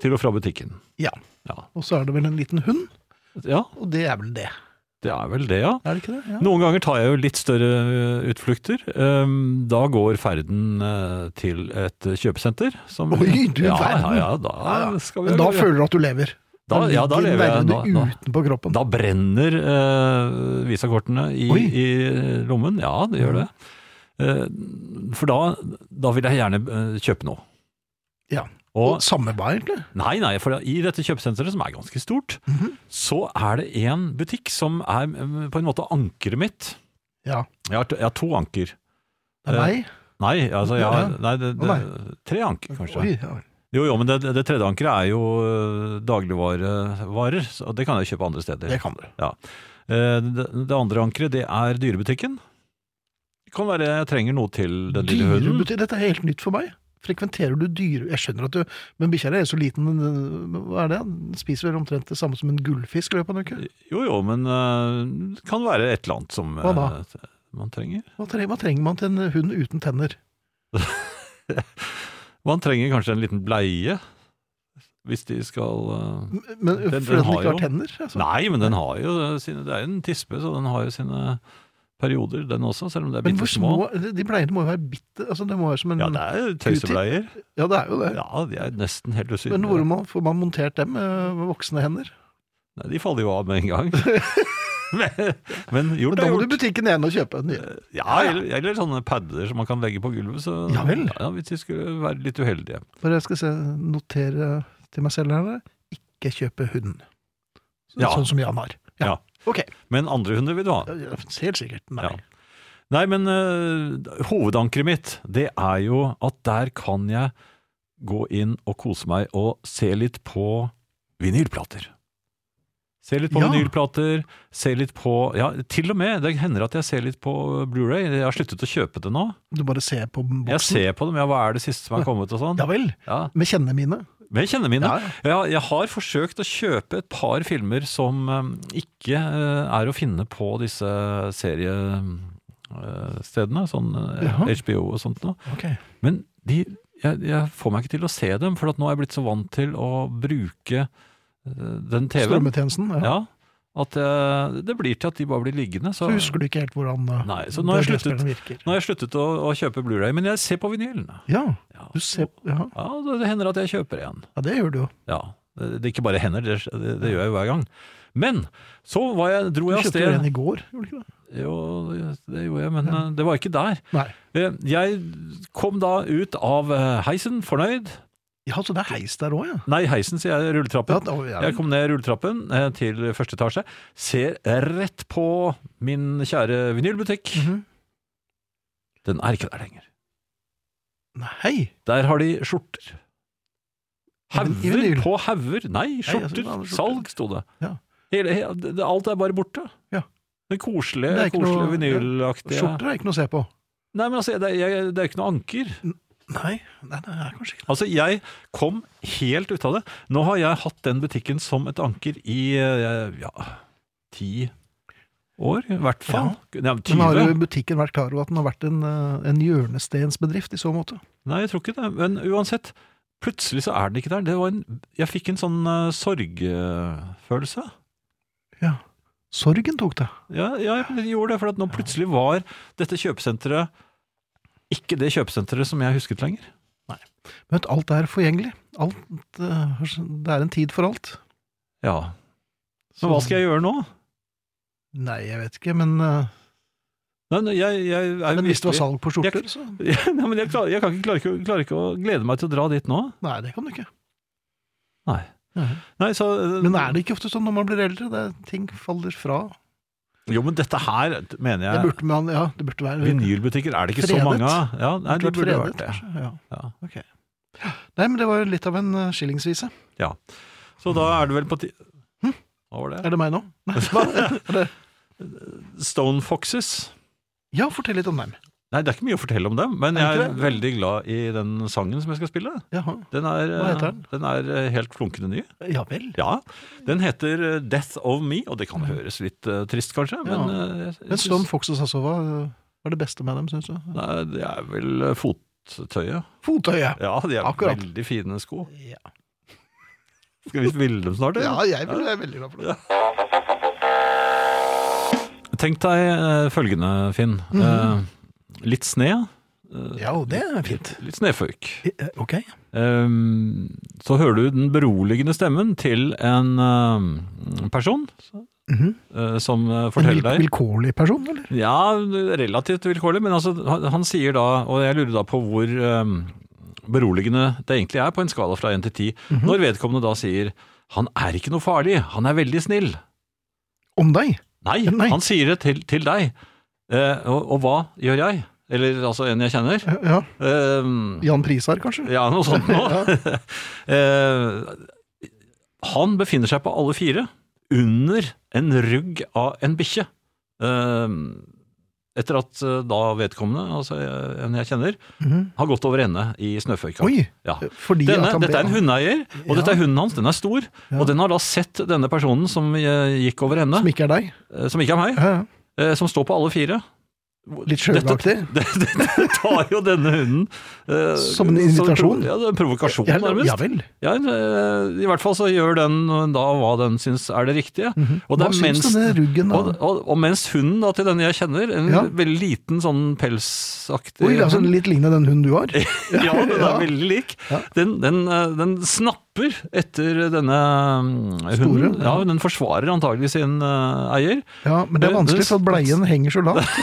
[SPEAKER 3] til og fra butikken.
[SPEAKER 2] Ja.
[SPEAKER 3] Ja.
[SPEAKER 2] Og så er det vel en liten hund,
[SPEAKER 3] ja,
[SPEAKER 2] og det er vel det.
[SPEAKER 3] det er vel det, ja.
[SPEAKER 2] Er det ikke det? Ja.
[SPEAKER 3] Noen ganger tar jeg jo litt større eh, utflukter. Ehm, Da går ferden eh, til et kjøpesenter. Som,
[SPEAKER 2] Oi, du
[SPEAKER 3] ja,
[SPEAKER 2] verden.
[SPEAKER 3] Ja, ja, da skal vi
[SPEAKER 2] Men da føler du at du lever.
[SPEAKER 3] Da- ja, da
[SPEAKER 2] ligger
[SPEAKER 3] lever jeg.
[SPEAKER 2] verden
[SPEAKER 3] Da- da-
[SPEAKER 2] utenpå kroppen.
[SPEAKER 3] Da brenner eh, visakortene i,
[SPEAKER 2] Oi.
[SPEAKER 3] i lommen. Ja, det gjør det. Eh, for da, da vil jeg gjerne eh, kjøpe noe.
[SPEAKER 2] Ja.
[SPEAKER 3] Og,
[SPEAKER 2] Samme hva, egentlig.
[SPEAKER 3] nei, nei, for i dette kjøpesenteret, som er ganske stort,
[SPEAKER 2] Mhm.
[SPEAKER 3] så er det en butikk som er eh, på en måte ankeret mitt.
[SPEAKER 2] Ja.
[SPEAKER 3] Jeg har, t- jeg har to anker.
[SPEAKER 2] Det er
[SPEAKER 3] Eh,
[SPEAKER 2] meg.
[SPEAKER 3] Nei, altså jeg har
[SPEAKER 2] Ja.
[SPEAKER 3] nei, det,
[SPEAKER 2] Å,
[SPEAKER 3] det, tre anker, kanskje.
[SPEAKER 2] Oi, ja.
[SPEAKER 3] Jo, jo, men det, det tredje ankeret er jo eh, dagligvarevarer, og det kan jeg kjøpe andre steder.
[SPEAKER 2] Det kan du.
[SPEAKER 3] Eh, Det, det andre ankeret, det er dyrebutikken. Det kan være jeg trenger noe til den lille hunden.
[SPEAKER 2] Dyrebutikk, dette er helt nytt for meg. Frekventerer du dyre... Jeg skjønner at du Men bikkja di er så liten, den- hva er det? Den Spiser vel omtrent det samme som en gullfisk i løpet av en uke?
[SPEAKER 3] Jo, jo, men eh, det kan være et eller annet som
[SPEAKER 2] Hva da?
[SPEAKER 3] eh, man trenger.
[SPEAKER 2] Hva trenger, hva trenger man til en hund uten tenner?
[SPEAKER 3] Man trenger kanskje en liten bleie, hvis de skal eh,
[SPEAKER 2] M- Men
[SPEAKER 3] Den- den
[SPEAKER 2] fordi den
[SPEAKER 3] har
[SPEAKER 2] ikke
[SPEAKER 3] jo-
[SPEAKER 2] har tenner? Altså.
[SPEAKER 3] Nei, men den har jo sine Det er jo en tispe, så den har jo sine perioder, den også, selv om det er
[SPEAKER 2] Men
[SPEAKER 3] bitte
[SPEAKER 2] hvor små De bleiene må jo være bitte altså Det må være som en
[SPEAKER 3] Ja, det er tøysebleier.
[SPEAKER 2] Ja, det er jo det.
[SPEAKER 3] Ja, de er nesten helt
[SPEAKER 2] Men hvor
[SPEAKER 3] usynlige.
[SPEAKER 2] man, får man montert dem eh, med voksne hender?
[SPEAKER 3] Nei, de faller jo av med en gang. men, men
[SPEAKER 2] Men
[SPEAKER 3] gjort
[SPEAKER 2] da
[SPEAKER 3] er
[SPEAKER 2] må du
[SPEAKER 3] gjort.
[SPEAKER 2] i butikken igjen og kjøpe en ny.
[SPEAKER 3] Ja, eller, eller sånne padder som man kan legge på gulvet. Så,
[SPEAKER 2] Ja vel.
[SPEAKER 3] hvis de skulle være litt uheldige.
[SPEAKER 2] For jeg skal se, notere til meg selv her Ikke kjøpe hund. Så,
[SPEAKER 3] Ja.
[SPEAKER 2] Sånn som Jan har.
[SPEAKER 3] Ja.
[SPEAKER 2] Ok.
[SPEAKER 3] Men andre hunder vil du ha.
[SPEAKER 2] Ja, ja, Helt sikkert. Nei.
[SPEAKER 3] Ja. Nei, men eh, hovedankeret mitt, det er jo at der kan jeg gå inn og kose meg og se litt på vinylplater. Se litt på
[SPEAKER 2] Ja.
[SPEAKER 3] vinylplater, se litt på Ja, til og med. Det hender at jeg ser litt på Blu-ray. Jeg har sluttet å kjøpe det nå.
[SPEAKER 2] Du bare ser på boksen.
[SPEAKER 3] Jeg ser på dem. Ja, hva er det siste som er kommet, og sånn.
[SPEAKER 2] Ja vel.
[SPEAKER 3] Ja.
[SPEAKER 2] Med kjennene mine.
[SPEAKER 3] Men jeg kjenner mine.
[SPEAKER 2] Ja, ja.
[SPEAKER 3] Ja, jeg har forsøkt å kjøpe et par filmer som eh, ikke eh, er å finne på disse seriestedene, sånn eh,
[SPEAKER 2] Jaha.
[SPEAKER 3] HBO og sånt noe.
[SPEAKER 2] Ok.
[SPEAKER 3] Men de, jeg, jeg får meg ikke til å se dem, for at nå er jeg blitt så vant til å bruke eh, den TV-en.
[SPEAKER 2] Strømmetjenesten. Ja.
[SPEAKER 3] Ja, at eh, det blir til at de bare blir liggende. Så,
[SPEAKER 2] Så husker du ikke helt hvordan eh,
[SPEAKER 3] Nei, så nå har jeg
[SPEAKER 2] DVD-spilleren virker.
[SPEAKER 3] nå har jeg sluttet å, å kjøpe Blu-ray, men jeg ser på vinylen.
[SPEAKER 2] Ja,
[SPEAKER 3] Ja.
[SPEAKER 2] du ser, ja.
[SPEAKER 3] Ja, det, det hender at jeg kjøper en.
[SPEAKER 2] ja, det gjør du jo.
[SPEAKER 3] Ja, det, det ikke bare hender, det, det, det gjør jeg jo hver gang. Men så var jeg, dro
[SPEAKER 2] Du
[SPEAKER 3] jeg av
[SPEAKER 2] kjøpte jo en
[SPEAKER 3] sted
[SPEAKER 2] i går, gjorde du ikke det?
[SPEAKER 3] Jo, det gjorde jeg, men eh, det var ikke der.
[SPEAKER 2] Nei.
[SPEAKER 3] Eh, Jeg kom da ut av eh, heisen fornøyd.
[SPEAKER 2] Ja, så det er heis der òg, ja.
[SPEAKER 3] Nei, heisen, sier jeg,
[SPEAKER 2] ja,
[SPEAKER 3] rulletrappen.
[SPEAKER 2] da, ja.
[SPEAKER 3] Jeg kom ned rulletrappen eh, til første etasje, ser rett på min kjære vinylbutikk.
[SPEAKER 2] Mhm.
[SPEAKER 3] Den er ikke der lenger.
[SPEAKER 2] Nei!
[SPEAKER 3] Der har de skjorter.
[SPEAKER 2] I vin- i
[SPEAKER 3] Hauger
[SPEAKER 2] vinyl?
[SPEAKER 3] på hauger. Nei,
[SPEAKER 2] altså,
[SPEAKER 3] skjorter.
[SPEAKER 2] det var skjorter.
[SPEAKER 3] Salg, sto det.
[SPEAKER 2] Ja.
[SPEAKER 3] Hele, he- det- det- alt er bare borte.
[SPEAKER 2] Ja.
[SPEAKER 3] Det koselige,
[SPEAKER 2] Det er ikke
[SPEAKER 3] koselige
[SPEAKER 2] noe-
[SPEAKER 3] vinylaktige
[SPEAKER 2] Skjorter er ikke noe å se på.
[SPEAKER 3] Nei, men altså, det, er- jeg, det er jo ikke noe anker.
[SPEAKER 2] Nei, nei, det er kanskje ikke
[SPEAKER 3] Altså, jeg kom helt ut av det. Nå har jeg hatt den butikken som et anker i eh, ja, ti år, i hvert fall. Nei, men
[SPEAKER 2] Men har
[SPEAKER 3] 20.
[SPEAKER 2] jo butikken vært klar over at den har vært en, eh, en hjørnestensbedrift i så måte?
[SPEAKER 3] Nei, jeg tror ikke det. Men uansett, plutselig så er den ikke der. Det var en, jeg fikk en sånn eh, sorgfølelse.
[SPEAKER 2] Ja. Sorgen tok det.
[SPEAKER 3] Ja, ja, jeg gjorde det, for at nå plutselig var dette kjøpesenteret ikke det kjøpesenteret som jeg husket lenger.
[SPEAKER 2] Men vet, du, alt er forgjengelig. Alt, eh, har s- det er en tid for alt.
[SPEAKER 3] Ja. Men hva skal jeg gjøre nå?
[SPEAKER 2] Nei, jeg vet ikke, men, eh,
[SPEAKER 3] Nei, nei, jeg, jeg er sånn.
[SPEAKER 2] men hvis det var
[SPEAKER 3] virkelig-
[SPEAKER 2] salg på skjorter, så
[SPEAKER 3] Ja, nei, men jeg, klarer, jeg kan ikke, klarer, ikke, klarer ikke å glede meg til å dra dit nå.
[SPEAKER 2] Nei, det kan du ikke.
[SPEAKER 3] Nei.
[SPEAKER 2] Nei.
[SPEAKER 3] Nei, så, eh,
[SPEAKER 2] Men er det ikke ofte sånn når man blir eldre? Det, er- ting faller fra.
[SPEAKER 3] Jo, men dette her mener
[SPEAKER 2] Det
[SPEAKER 3] jeg
[SPEAKER 2] burde man, ja, det burde være
[SPEAKER 3] Vinylbutikker er det ikke
[SPEAKER 2] Fredet.
[SPEAKER 3] så mange av. Ja, nei, de
[SPEAKER 2] vært
[SPEAKER 3] burde
[SPEAKER 2] fredet,
[SPEAKER 3] vært det.
[SPEAKER 2] kanskje. Ja.
[SPEAKER 3] Ja.
[SPEAKER 2] ok. Nei, men det var jo litt av en eh, skillingsvise.
[SPEAKER 3] Så da er det vel på ti... Hva var det?
[SPEAKER 2] Hm? Er det meg nå? Nei, hva? Er det?
[SPEAKER 3] Stone Foxes.
[SPEAKER 2] Ja, fortell litt om dem.
[SPEAKER 3] Nei, det er ikke mye å fortelle om dem, men
[SPEAKER 2] Er det
[SPEAKER 3] jeg er
[SPEAKER 2] ikke
[SPEAKER 3] veldig glad i den sangen som jeg skal spille.
[SPEAKER 2] Jaha.
[SPEAKER 3] Den er,
[SPEAKER 2] Hva heter den?
[SPEAKER 3] eh, Den er eh, helt flunkende ny.
[SPEAKER 2] Ja vel.
[SPEAKER 3] Ja, Den heter eh, Death of Me, og det kan høres litt eh, trist kanskje, men,
[SPEAKER 2] Mm. Ja.
[SPEAKER 3] eh, jeg- jeg
[SPEAKER 2] Men Stone
[SPEAKER 3] synes-
[SPEAKER 2] Foxes altså, hva eh, var det beste med dem, syns du?
[SPEAKER 3] Nei, det er vel eh, fottøyet.
[SPEAKER 2] Fottøyet!
[SPEAKER 3] Ja, de er
[SPEAKER 2] Akkurat.
[SPEAKER 3] veldig fine sko.
[SPEAKER 2] Ja.
[SPEAKER 3] Skal vi spille dem snart?
[SPEAKER 2] Ja,
[SPEAKER 3] eller?
[SPEAKER 2] jeg vil- jeg er veldig glad for det.
[SPEAKER 3] Tenk deg eh, følgende, Finn. eh, litt sne. eh,
[SPEAKER 2] Ja, og Mhm. det er fint.
[SPEAKER 3] Litt snøføyk.
[SPEAKER 2] Eh, Ok.
[SPEAKER 3] Ehm, så hører du den beroligende stemmen til en eh, person
[SPEAKER 2] Mhm.
[SPEAKER 3] eh, som eh,
[SPEAKER 2] En vil-
[SPEAKER 3] forteller deg
[SPEAKER 2] vilkårlig person, eller?
[SPEAKER 3] Ja, relativt vilkårlig, men altså, han, han sier da, og jeg lurer da på hvor ehm, beroligende det egentlig er på en skala fra 1 til 10, når vedkommende da sier han er ikke noe farlig, han er veldig snill.
[SPEAKER 2] Om deg?
[SPEAKER 3] Nei,
[SPEAKER 2] Nei.
[SPEAKER 3] han sier det til, til deg. Eh, og, og hva gjør jeg? Eller altså en jeg kjenner.
[SPEAKER 2] Eh, Ja.
[SPEAKER 3] Ehm,
[SPEAKER 2] Jan Prisar, kanskje?
[SPEAKER 3] ja, noe sånt nå. Eh, han befinner seg på alle fire under en rugg av en bikkje. Eh, etter at eh, da vedkommende, altså eh, en jeg kjenner,
[SPEAKER 2] Mhm.
[SPEAKER 3] har gått over ende i snøføyka.
[SPEAKER 2] Oi!
[SPEAKER 3] Ja.
[SPEAKER 2] Fordi at
[SPEAKER 3] Denne,
[SPEAKER 2] han ble-
[SPEAKER 3] dette er en hundeeier, og
[SPEAKER 2] Ja.
[SPEAKER 3] dette er hunden hans. Den er stor,
[SPEAKER 2] Ja.
[SPEAKER 3] og den har da sett denne personen som eh, gikk over ende,
[SPEAKER 2] Som ikke er deg?
[SPEAKER 3] eh, som ikke er meg,
[SPEAKER 2] Ja, ja.
[SPEAKER 3] eh, som står på alle fire.
[SPEAKER 2] Litt sjølaktig?
[SPEAKER 3] Dette tar jo denne hunden eh,
[SPEAKER 2] Som en invitasjon?
[SPEAKER 3] Som, ja, det er en provokasjon,
[SPEAKER 2] Ja,
[SPEAKER 3] nærmest.
[SPEAKER 2] Ja vel.
[SPEAKER 3] Ja, eh, i hvert fall så gjør den da hva den syns er det riktige. Og, det
[SPEAKER 2] Mhm. Hva
[SPEAKER 3] er
[SPEAKER 2] syns
[SPEAKER 3] mens,
[SPEAKER 2] du om den ruggen?
[SPEAKER 3] og,
[SPEAKER 2] da?
[SPEAKER 3] og, og mens hunden da, til denne jeg kjenner, en
[SPEAKER 2] Ja.
[SPEAKER 3] veldig liten sånn pelsaktig
[SPEAKER 2] Oi, altså Litt lignende den hunden du har?
[SPEAKER 3] Ja, den er
[SPEAKER 2] Ja.
[SPEAKER 3] veldig lik.
[SPEAKER 2] Ja.
[SPEAKER 3] Den, den, eh, den snapper etter denne eh,
[SPEAKER 2] Store,
[SPEAKER 3] hunden. Ja,
[SPEAKER 2] ja.
[SPEAKER 3] Den forsvarer antagelig sin eh, eier.
[SPEAKER 2] Ja, Men det er
[SPEAKER 3] Det- det-
[SPEAKER 2] vanskelig, for bleien henger så lavt.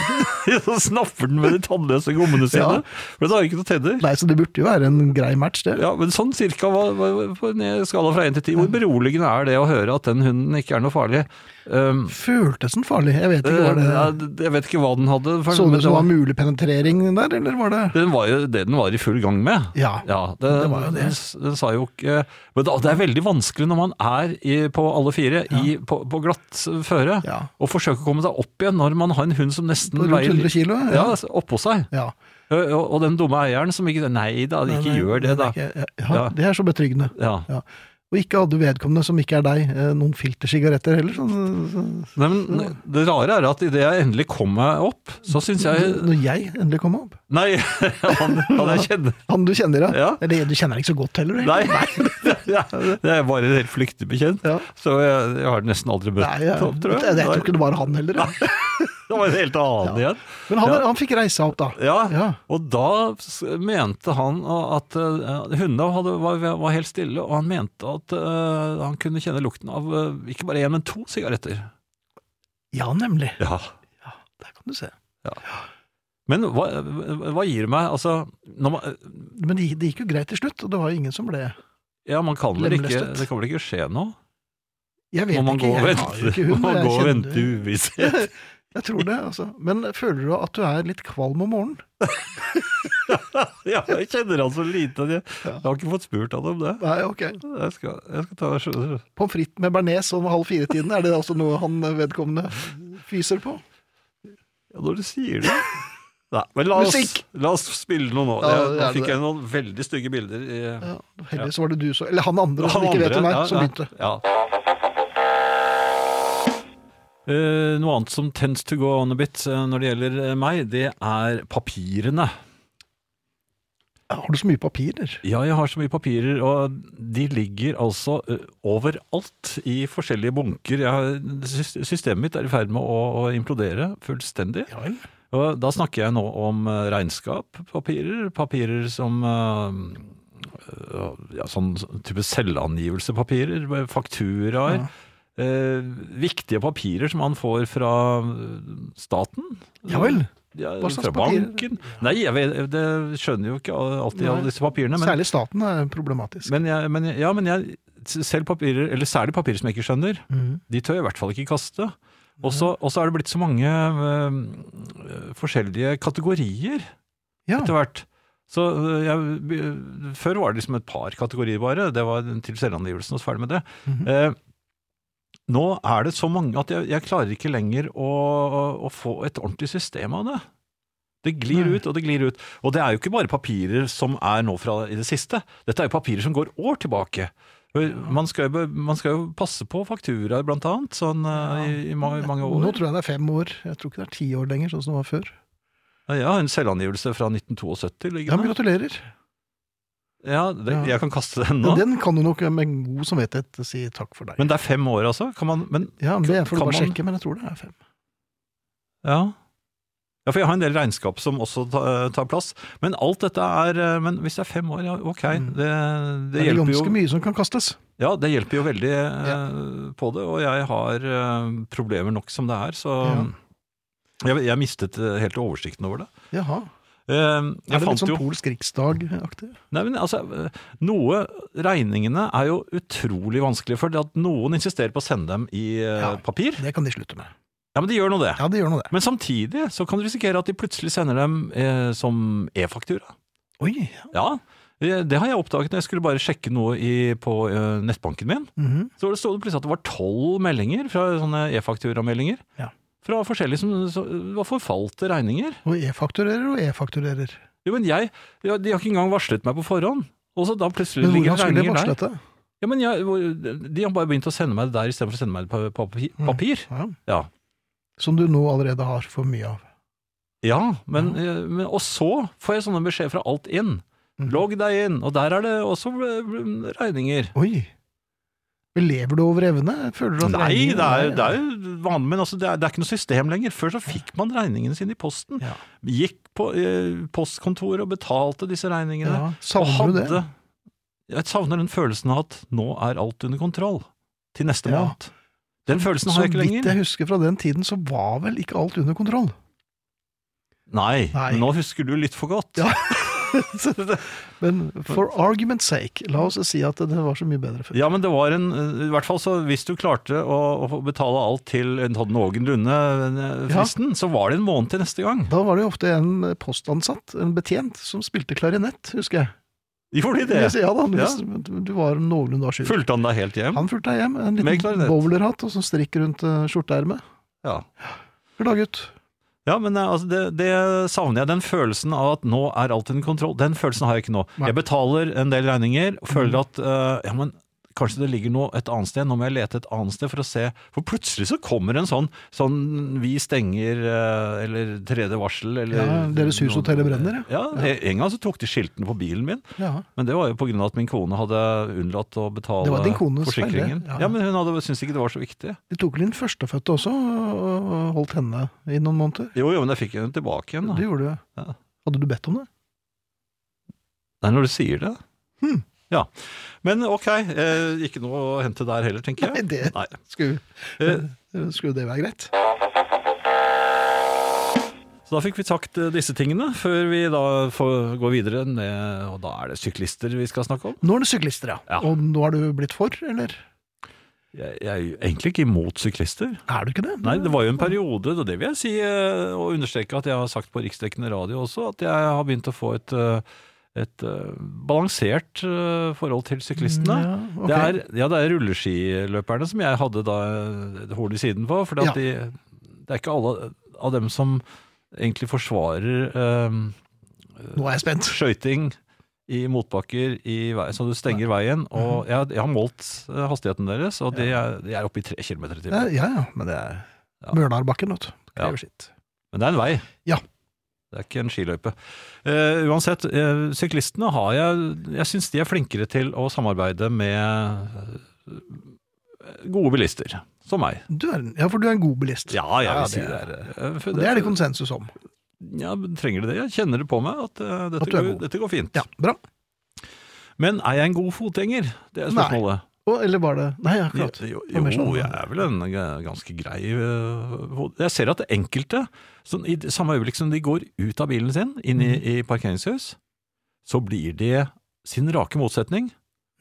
[SPEAKER 3] Så snapper den med de tannløse gommene sine.
[SPEAKER 2] Ja.
[SPEAKER 3] For den har ikke noen tenner.
[SPEAKER 2] Nei, Så det burde jo være en grei match, det.
[SPEAKER 3] Ja, men sånn cirka hva, hva, på en skala fra 1 til 10, hvor beroligende er det å høre at den hunden ikke er noe farlig? Um,
[SPEAKER 2] Føltes den farlig? Jeg vet ikke. Var
[SPEAKER 3] Eh, ja,
[SPEAKER 2] det,
[SPEAKER 3] d- jeg vet ikke hva den hadde. for-
[SPEAKER 2] så
[SPEAKER 3] men
[SPEAKER 2] det ut som det var
[SPEAKER 3] var-
[SPEAKER 2] mulig penetrering der, eller var det
[SPEAKER 3] den var jo det den var i full gang med.
[SPEAKER 2] Ja.
[SPEAKER 3] Ja, det,
[SPEAKER 2] det var jo det.
[SPEAKER 3] Den, s- den sa jo ikke Men da- det er veldig vanskelig når man er i, på alle fire i, på, på glatt føre,
[SPEAKER 2] Ja.
[SPEAKER 3] å forsøke å komme seg opp igjen når man har en hund som nesten
[SPEAKER 2] På rundt
[SPEAKER 3] veier
[SPEAKER 2] 100 kilo,
[SPEAKER 3] Ja,
[SPEAKER 2] ja.
[SPEAKER 3] altså, oppå seg.
[SPEAKER 2] Ja.
[SPEAKER 3] Ø, Og, og den dumme eieren som ikke Nei da,
[SPEAKER 2] Nei,
[SPEAKER 3] ikke
[SPEAKER 2] nei,
[SPEAKER 3] gjør det, da.
[SPEAKER 2] nei, ikke- Ja,
[SPEAKER 3] Ja.
[SPEAKER 2] Det er så betryggende.
[SPEAKER 3] Ja.
[SPEAKER 2] Ja. Og ikke hadde vedkommende, som ikke er deg, eh, noen filtersigaretter heller. Sånn, så-
[SPEAKER 3] Nei, men det rare er at idet jeg endelig kom meg opp, så syns jeg
[SPEAKER 2] Når jeg endelig kom opp.
[SPEAKER 3] Nei, han, han jeg kjenner
[SPEAKER 2] Han du kjenner, ja.
[SPEAKER 3] Ja.
[SPEAKER 2] Eller du kjenner ikke så godt heller. egentlig.
[SPEAKER 3] Nei, det er- det er bare en helt flyktig bekjent.
[SPEAKER 2] Ja.
[SPEAKER 3] Så jeg, jeg har nesten aldri møtt
[SPEAKER 2] Nei, jeg,
[SPEAKER 3] Tom, tror
[SPEAKER 2] jeg,
[SPEAKER 3] jeg.
[SPEAKER 2] tror ikke det var han heller. ja.
[SPEAKER 3] Det var en helt annen igjen.
[SPEAKER 2] Men han,
[SPEAKER 3] Ja.
[SPEAKER 2] han fikk reise seg opp, da.
[SPEAKER 3] Ja,
[SPEAKER 2] Ja.
[SPEAKER 3] og da s- mente han at eh, hundene hadde, var, var helt stille, og han mente at eh, han kunne kjenne lukten av eh, ikke bare én, men to sigaretter.
[SPEAKER 2] Ja, nemlig.
[SPEAKER 3] Ja.
[SPEAKER 2] Der kan du se.
[SPEAKER 3] Men hva, hva gir det meg? Altså, når man,
[SPEAKER 2] Men det, det gikk jo greit til slutt, og det var jo ingen som ble
[SPEAKER 3] ja, man kan vel ikke,
[SPEAKER 2] Lemlestet.
[SPEAKER 3] det kan vel ikke skje noe?
[SPEAKER 2] Jeg vet
[SPEAKER 3] Må man
[SPEAKER 2] ikke,
[SPEAKER 3] gå og
[SPEAKER 2] jeg har jo
[SPEAKER 3] vente,
[SPEAKER 2] ikke hund.
[SPEAKER 3] må man
[SPEAKER 2] jeg
[SPEAKER 3] gå og
[SPEAKER 2] kjenner-
[SPEAKER 3] vente i uvisshet?
[SPEAKER 2] Jeg tror det, altså. Men føler du at du er litt kvalm om morgenen?
[SPEAKER 3] Ja, jeg kjenner han så lite at jeg, jeg har ikke fått spurt han om det.
[SPEAKER 2] Nei, ok.
[SPEAKER 3] Jeg skal, jeg skal ta
[SPEAKER 2] Pommes frites med bearnés om halv fire-tiden, er det altså noe han vedkommende fyser på?
[SPEAKER 3] Ja, når du sier det Nei, men la oss,
[SPEAKER 2] Musikk!
[SPEAKER 3] la oss spille noe nå.
[SPEAKER 2] Ja,
[SPEAKER 3] Jeg, nå
[SPEAKER 2] det er
[SPEAKER 3] fikk
[SPEAKER 2] det.
[SPEAKER 3] jeg noen veldig stygge bilder. I,
[SPEAKER 2] Ja, Heldigvis var det du som Eller han andre som
[SPEAKER 3] Han
[SPEAKER 2] ikke vet
[SPEAKER 3] andre,
[SPEAKER 2] om meg,
[SPEAKER 3] ja,
[SPEAKER 2] som
[SPEAKER 3] ja,
[SPEAKER 2] begynte.
[SPEAKER 3] Ja. Eh, noe annet som tends to go on a bit eh, når det gjelder eh, meg, det er papirene.
[SPEAKER 2] Har du så mye papirer?
[SPEAKER 3] Ja, jeg har så mye papirer, og de ligger altså ø, overalt i forskjellige bunker. Jeg har, sys- systemet mitt er i ferd med å, å implodere fullstendig. Og da snakker jeg nå om eh, regnskappapirer, papirer som eh, ø, ja, sånn type selvangivelsepapirer, med fakturaer. eh, viktige papirer som man får fra eh, staten.
[SPEAKER 2] Ja vel.
[SPEAKER 3] Ja,
[SPEAKER 2] Hva slags
[SPEAKER 3] fra
[SPEAKER 2] papirer?
[SPEAKER 3] banken. Nei, jeg vet, det skjønner jo ikke alltid alle
[SPEAKER 2] Nei.
[SPEAKER 3] disse papirene. Men,
[SPEAKER 2] Særlig staten er problematisk.
[SPEAKER 3] men, jeg, men, jeg- ja, men jeg, selv papirer, eller særlig papirer som jeg ikke skjønner,
[SPEAKER 2] Mm.
[SPEAKER 3] de tør jeg i hvert fall ikke kaste. Og så og så er det blitt så mange øhm, øh, forskjellige kategorier
[SPEAKER 2] Ja.
[SPEAKER 3] etter hvert. Så øh, jeg, be- Før var det liksom et par kategorier bare, det var til selvangivelsen og så ferdig med det.
[SPEAKER 2] Mhm.
[SPEAKER 3] Eh, nå er det så mange at jeg, jeg klarer ikke lenger å, å få et ordentlig system av det. Det glir
[SPEAKER 2] Nei.
[SPEAKER 3] ut og det glir ut. Og det er jo ikke bare papirer som er nå fra i det siste. Dette er jo papirer som går år tilbake. Man skal, jo be- man skal jo passe på fakturaer, blant annet, sånn eh, i, i ma- i mange år.
[SPEAKER 2] Nå tror jeg det er fem år. Jeg tror ikke det er ti år lenger, sånn som det var før.
[SPEAKER 3] Jeg har en selvangivelse fra
[SPEAKER 2] Ja,
[SPEAKER 3] 1972
[SPEAKER 2] men
[SPEAKER 3] liggende.
[SPEAKER 2] gratulerer.
[SPEAKER 3] Ja, det,
[SPEAKER 2] Ja.
[SPEAKER 3] jeg kan kaste den nå.
[SPEAKER 2] Den kan du nok med god samvittighet si takk for deg.
[SPEAKER 3] Men det er fem år, altså? Kan man men,
[SPEAKER 2] ja, men Det får du
[SPEAKER 3] kan
[SPEAKER 2] bare
[SPEAKER 3] man-
[SPEAKER 2] sjekke, men jeg tror det er fem.
[SPEAKER 3] ja. ja, for jeg har en del regnskap som også ta- tar plass. Men alt dette er eh, Men hvis det er fem år, ja, ok.
[SPEAKER 2] Mm.
[SPEAKER 3] Det,
[SPEAKER 2] Det
[SPEAKER 3] det,
[SPEAKER 2] er
[SPEAKER 3] hjelper jo,
[SPEAKER 2] ganske mye som kan kastes.
[SPEAKER 3] ja, det hjelper jo veldig eh, på det. Og jeg har eh, problemer nok som det er, så jeg, jeg mistet eh, helt oversikten over det.
[SPEAKER 2] Jaha.
[SPEAKER 3] Eh,
[SPEAKER 2] Er
[SPEAKER 3] Jeg
[SPEAKER 2] det litt
[SPEAKER 3] fant
[SPEAKER 2] sånn
[SPEAKER 3] jo
[SPEAKER 2] polsk riksdag-aktig?
[SPEAKER 3] Nei, men altså, noe Regningene er jo utrolig vanskelig, for det at noen insisterer på å sende dem i eh,
[SPEAKER 2] Ja.
[SPEAKER 3] papir.
[SPEAKER 2] Det kan de slutte med.
[SPEAKER 3] Ja, men de gjør nå det.
[SPEAKER 2] Ja, det gjør nå det.
[SPEAKER 3] Men samtidig så kan du risikere at de plutselig sender dem eh, som e-faktura.
[SPEAKER 2] Oi.
[SPEAKER 3] Ja, eh, det har jeg oppdaget når jeg skulle bare sjekke noe i, på eh, nettbanken min.
[SPEAKER 2] Mhm.
[SPEAKER 3] Så det stod det plutselig at det var tolv meldinger fra sånne e-fakturameldinger.
[SPEAKER 2] Ja.
[SPEAKER 3] Fra forskjellige som så, det var forfalte regninger.
[SPEAKER 2] Og e-fakturerer og e-fakturerer.
[SPEAKER 3] Jo, men jeg, ja, De har ikke engang varslet meg på forhånd. Og så da plutselig
[SPEAKER 2] Men
[SPEAKER 3] ligger
[SPEAKER 2] hvordan
[SPEAKER 3] det
[SPEAKER 2] skulle de
[SPEAKER 3] regninger der.
[SPEAKER 2] varsle dette?
[SPEAKER 3] Ja, men jeg, hvor- De har bare begynt å sende meg det der istedenfor å sende meg det på- på papir. papir.
[SPEAKER 2] Ja.
[SPEAKER 3] Ja.
[SPEAKER 2] Som du nå allerede har for mye av.
[SPEAKER 3] Ja, men, eh, men Og så får jeg sånne beskjeder fra alt inn.
[SPEAKER 2] Mhm.
[SPEAKER 3] Logg deg inn. Og der er det også eh, regninger.
[SPEAKER 2] Oi! Men lever du over evne? Føler du at
[SPEAKER 3] Nei, det er,
[SPEAKER 2] regningen-
[SPEAKER 3] det er jo vanlig, men altså, det, er, det er ikke noe system lenger. Før så fikk man regningene sine i posten.
[SPEAKER 2] Ja.
[SPEAKER 3] Gikk på eh, postkontoret og betalte disse regningene.
[SPEAKER 2] Ja, Savner du det?
[SPEAKER 3] Jeg savner den følelsen av at nå er alt under kontroll til neste
[SPEAKER 2] Ja.
[SPEAKER 3] måned. Den følelsen
[SPEAKER 2] Så
[SPEAKER 3] har jeg ikke
[SPEAKER 2] vidt
[SPEAKER 3] lenger.
[SPEAKER 2] jeg husker fra den tiden, så var vel ikke alt under kontroll.
[SPEAKER 3] Nei,
[SPEAKER 2] Nei.
[SPEAKER 3] men nå husker du litt for godt.
[SPEAKER 2] Ja. Men for argument's sake, la oss si at det var så mye bedre før.
[SPEAKER 3] Ja, men det var en I hvert fall så hvis du klarte å, å få betale alt til en sånn noenlunde eh,
[SPEAKER 2] Ja.
[SPEAKER 3] fristen, så var det en måned til neste gang.
[SPEAKER 2] Da var det jo ofte en postansatt, en betjent, som spilte klarinett, husker jeg.
[SPEAKER 3] Gjorde de
[SPEAKER 2] Jeg
[SPEAKER 3] det?
[SPEAKER 2] sier, ja da, hvis du var noenlunde avskyldig.
[SPEAKER 3] Fulgte han deg helt hjem?
[SPEAKER 2] Han fulgte deg hjem. En
[SPEAKER 3] Med
[SPEAKER 2] liten
[SPEAKER 3] klarinett.
[SPEAKER 2] bowlerhatt og så strikk rundt eh, skjorteermet.
[SPEAKER 3] Ja.
[SPEAKER 2] Hør da, gutt.
[SPEAKER 3] Ja, men eh, altså, det, det savner jeg. Den følelsen av at nå er alt under kontroll, den følelsen har jeg ikke nå.
[SPEAKER 2] Nei. Mhm.
[SPEAKER 3] Jeg betaler en del regninger og føler at eh, ja, men kanskje det ligger noe et annet sted. Nå må jeg lete et annet sted for å se. For plutselig så kommer en sånn sånn vi stenger eh, eller tredje varsel eller
[SPEAKER 2] Ja, deres hus og hotellet brenner,
[SPEAKER 3] ja. En gang så tok de skiltene på bilen min.
[SPEAKER 2] Ja.
[SPEAKER 3] Men det var jo på grunn av at min kone hadde unnlatt å betale
[SPEAKER 2] Det var din kones feil, det.
[SPEAKER 3] forsikringen.
[SPEAKER 2] Ja.
[SPEAKER 3] Ja. men hun hadde syntes ikke det var så viktig.
[SPEAKER 2] De tok vel inn førstefødte også, og og holdt henne i noen måneder.
[SPEAKER 3] Jo, jo, men jeg fikk henne tilbake igjen.
[SPEAKER 2] Det
[SPEAKER 3] Da.
[SPEAKER 2] gjorde du.
[SPEAKER 3] Ja.
[SPEAKER 2] Hadde du bedt om det?
[SPEAKER 3] Det er når du sier det.
[SPEAKER 2] Hmm.
[SPEAKER 3] Ja. Men ok, eh, ikke noe å hente der heller, tenker
[SPEAKER 2] Nei,
[SPEAKER 3] jeg.
[SPEAKER 2] det
[SPEAKER 3] Nei.
[SPEAKER 2] skulle,
[SPEAKER 3] Eh,
[SPEAKER 2] skulle det være greit.
[SPEAKER 3] så da fikk vi sagt eh, disse tingene, før vi da får gå videre med Og da er det syklister vi skal snakke om.
[SPEAKER 2] Nå er det syklister, ja.
[SPEAKER 3] Ja.
[SPEAKER 2] Og nå er du blitt for, eller?
[SPEAKER 3] Jeg, jeg er jo egentlig ikke imot syklister.
[SPEAKER 2] Er du ikke det?
[SPEAKER 3] Nei, det var jo en periode, og det vil jeg si, eh, og understreke at jeg har sagt på riksdekkende radio også, at jeg har begynt å få et, eh, et eh, balansert eh, forhold til syklistene.
[SPEAKER 2] Mm, Ja, ok.
[SPEAKER 3] Det er, ja, det er rulleskiløperne som jeg hadde da eh, horn i siden på. For
[SPEAKER 2] Ja.
[SPEAKER 3] de, det er ikke alle av dem som egentlig forsvarer eh,
[SPEAKER 2] Nå er jeg spent.
[SPEAKER 3] skøyting i motbakker, i vei, så du stenger veien.
[SPEAKER 2] Mhm.
[SPEAKER 3] Og jeg, jeg har målt eh, hastigheten deres, og de er, de er oppe i tre kilometer i
[SPEAKER 2] Ja,
[SPEAKER 3] timen.
[SPEAKER 2] ja, ja, men det er
[SPEAKER 3] Ja.
[SPEAKER 2] Mjølarbakken, vet du. Det
[SPEAKER 3] Ja.
[SPEAKER 2] krever sitt.
[SPEAKER 3] Men det er en vei.
[SPEAKER 2] Ja.
[SPEAKER 3] Det er ikke en skiløype. Eh, uansett, eh, syklistene har jeg Jeg syns de er flinkere til å samarbeide med eh, gode bilister. Som meg.
[SPEAKER 2] Du er, en- ja, for du er en god bilist.
[SPEAKER 3] Ja, jeg vil
[SPEAKER 2] Ja,
[SPEAKER 3] si
[SPEAKER 2] det
[SPEAKER 3] det
[SPEAKER 2] er-
[SPEAKER 3] er eh, for
[SPEAKER 2] Og det er det konsensus om.
[SPEAKER 3] Ja, men trenger det det? Jeg kjenner det på meg at eh, dette,
[SPEAKER 2] At du er
[SPEAKER 3] går,
[SPEAKER 2] god.
[SPEAKER 3] dette går fint.
[SPEAKER 2] Ja, bra.
[SPEAKER 3] Men er jeg en god fotgjenger? Det er
[SPEAKER 2] Nei,
[SPEAKER 3] spørsmålet.
[SPEAKER 2] Og, eller var det Nei, akkurat.
[SPEAKER 3] Jo,
[SPEAKER 2] Det var mer
[SPEAKER 3] jo,
[SPEAKER 2] sånn-
[SPEAKER 3] jeg er vel en g- ganske grei eh, fot- Jeg ser at det enkelte, sånn, i det samme øyeblikk som de går ut av bilen sin, inn i,
[SPEAKER 2] Mhm.
[SPEAKER 3] i parkeringshus, så blir de sin rake motsetning,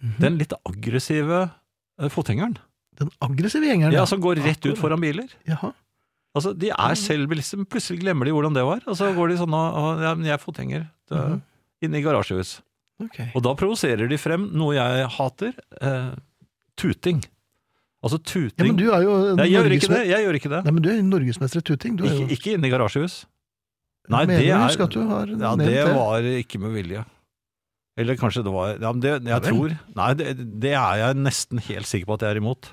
[SPEAKER 2] Mhm.
[SPEAKER 3] den litt aggressive eh, fotgjengeren,
[SPEAKER 2] Den aggressive gjengeren.
[SPEAKER 3] ja, som går rett ut foran biler.
[SPEAKER 2] Jaha.
[SPEAKER 3] Altså, De er
[SPEAKER 2] Mhm.
[SPEAKER 3] selv bilister, men plutselig glemmer de hvordan det var. Og så går de sånn og, og ja, men 'Jeg er fotgjenger'. Det er-
[SPEAKER 2] Mhm.
[SPEAKER 3] Inne i garasjehus.
[SPEAKER 2] Ok.
[SPEAKER 3] Og da provoserer de frem noe jeg hater. Eh, tuting. Altså tuting
[SPEAKER 2] Ja, men du er jo
[SPEAKER 3] Nei, jeg gjør ikke det.
[SPEAKER 2] norgesme-
[SPEAKER 3] jeg gjør ikke det.
[SPEAKER 2] Nei, men du er norgesmester i tuting. Du er jo
[SPEAKER 3] Ikke, ikke inne i garasjehus. Nei,
[SPEAKER 2] Jeg mener
[SPEAKER 3] det
[SPEAKER 2] å
[SPEAKER 3] er
[SPEAKER 2] huske at du har
[SPEAKER 3] Ja,
[SPEAKER 2] nevnt
[SPEAKER 3] det
[SPEAKER 2] det.
[SPEAKER 3] var ikke med vilje. Eller kanskje det var ja, men det, Jeg
[SPEAKER 2] vel.
[SPEAKER 3] tror Nei, det, det er jeg nesten helt sikker på at jeg er imot.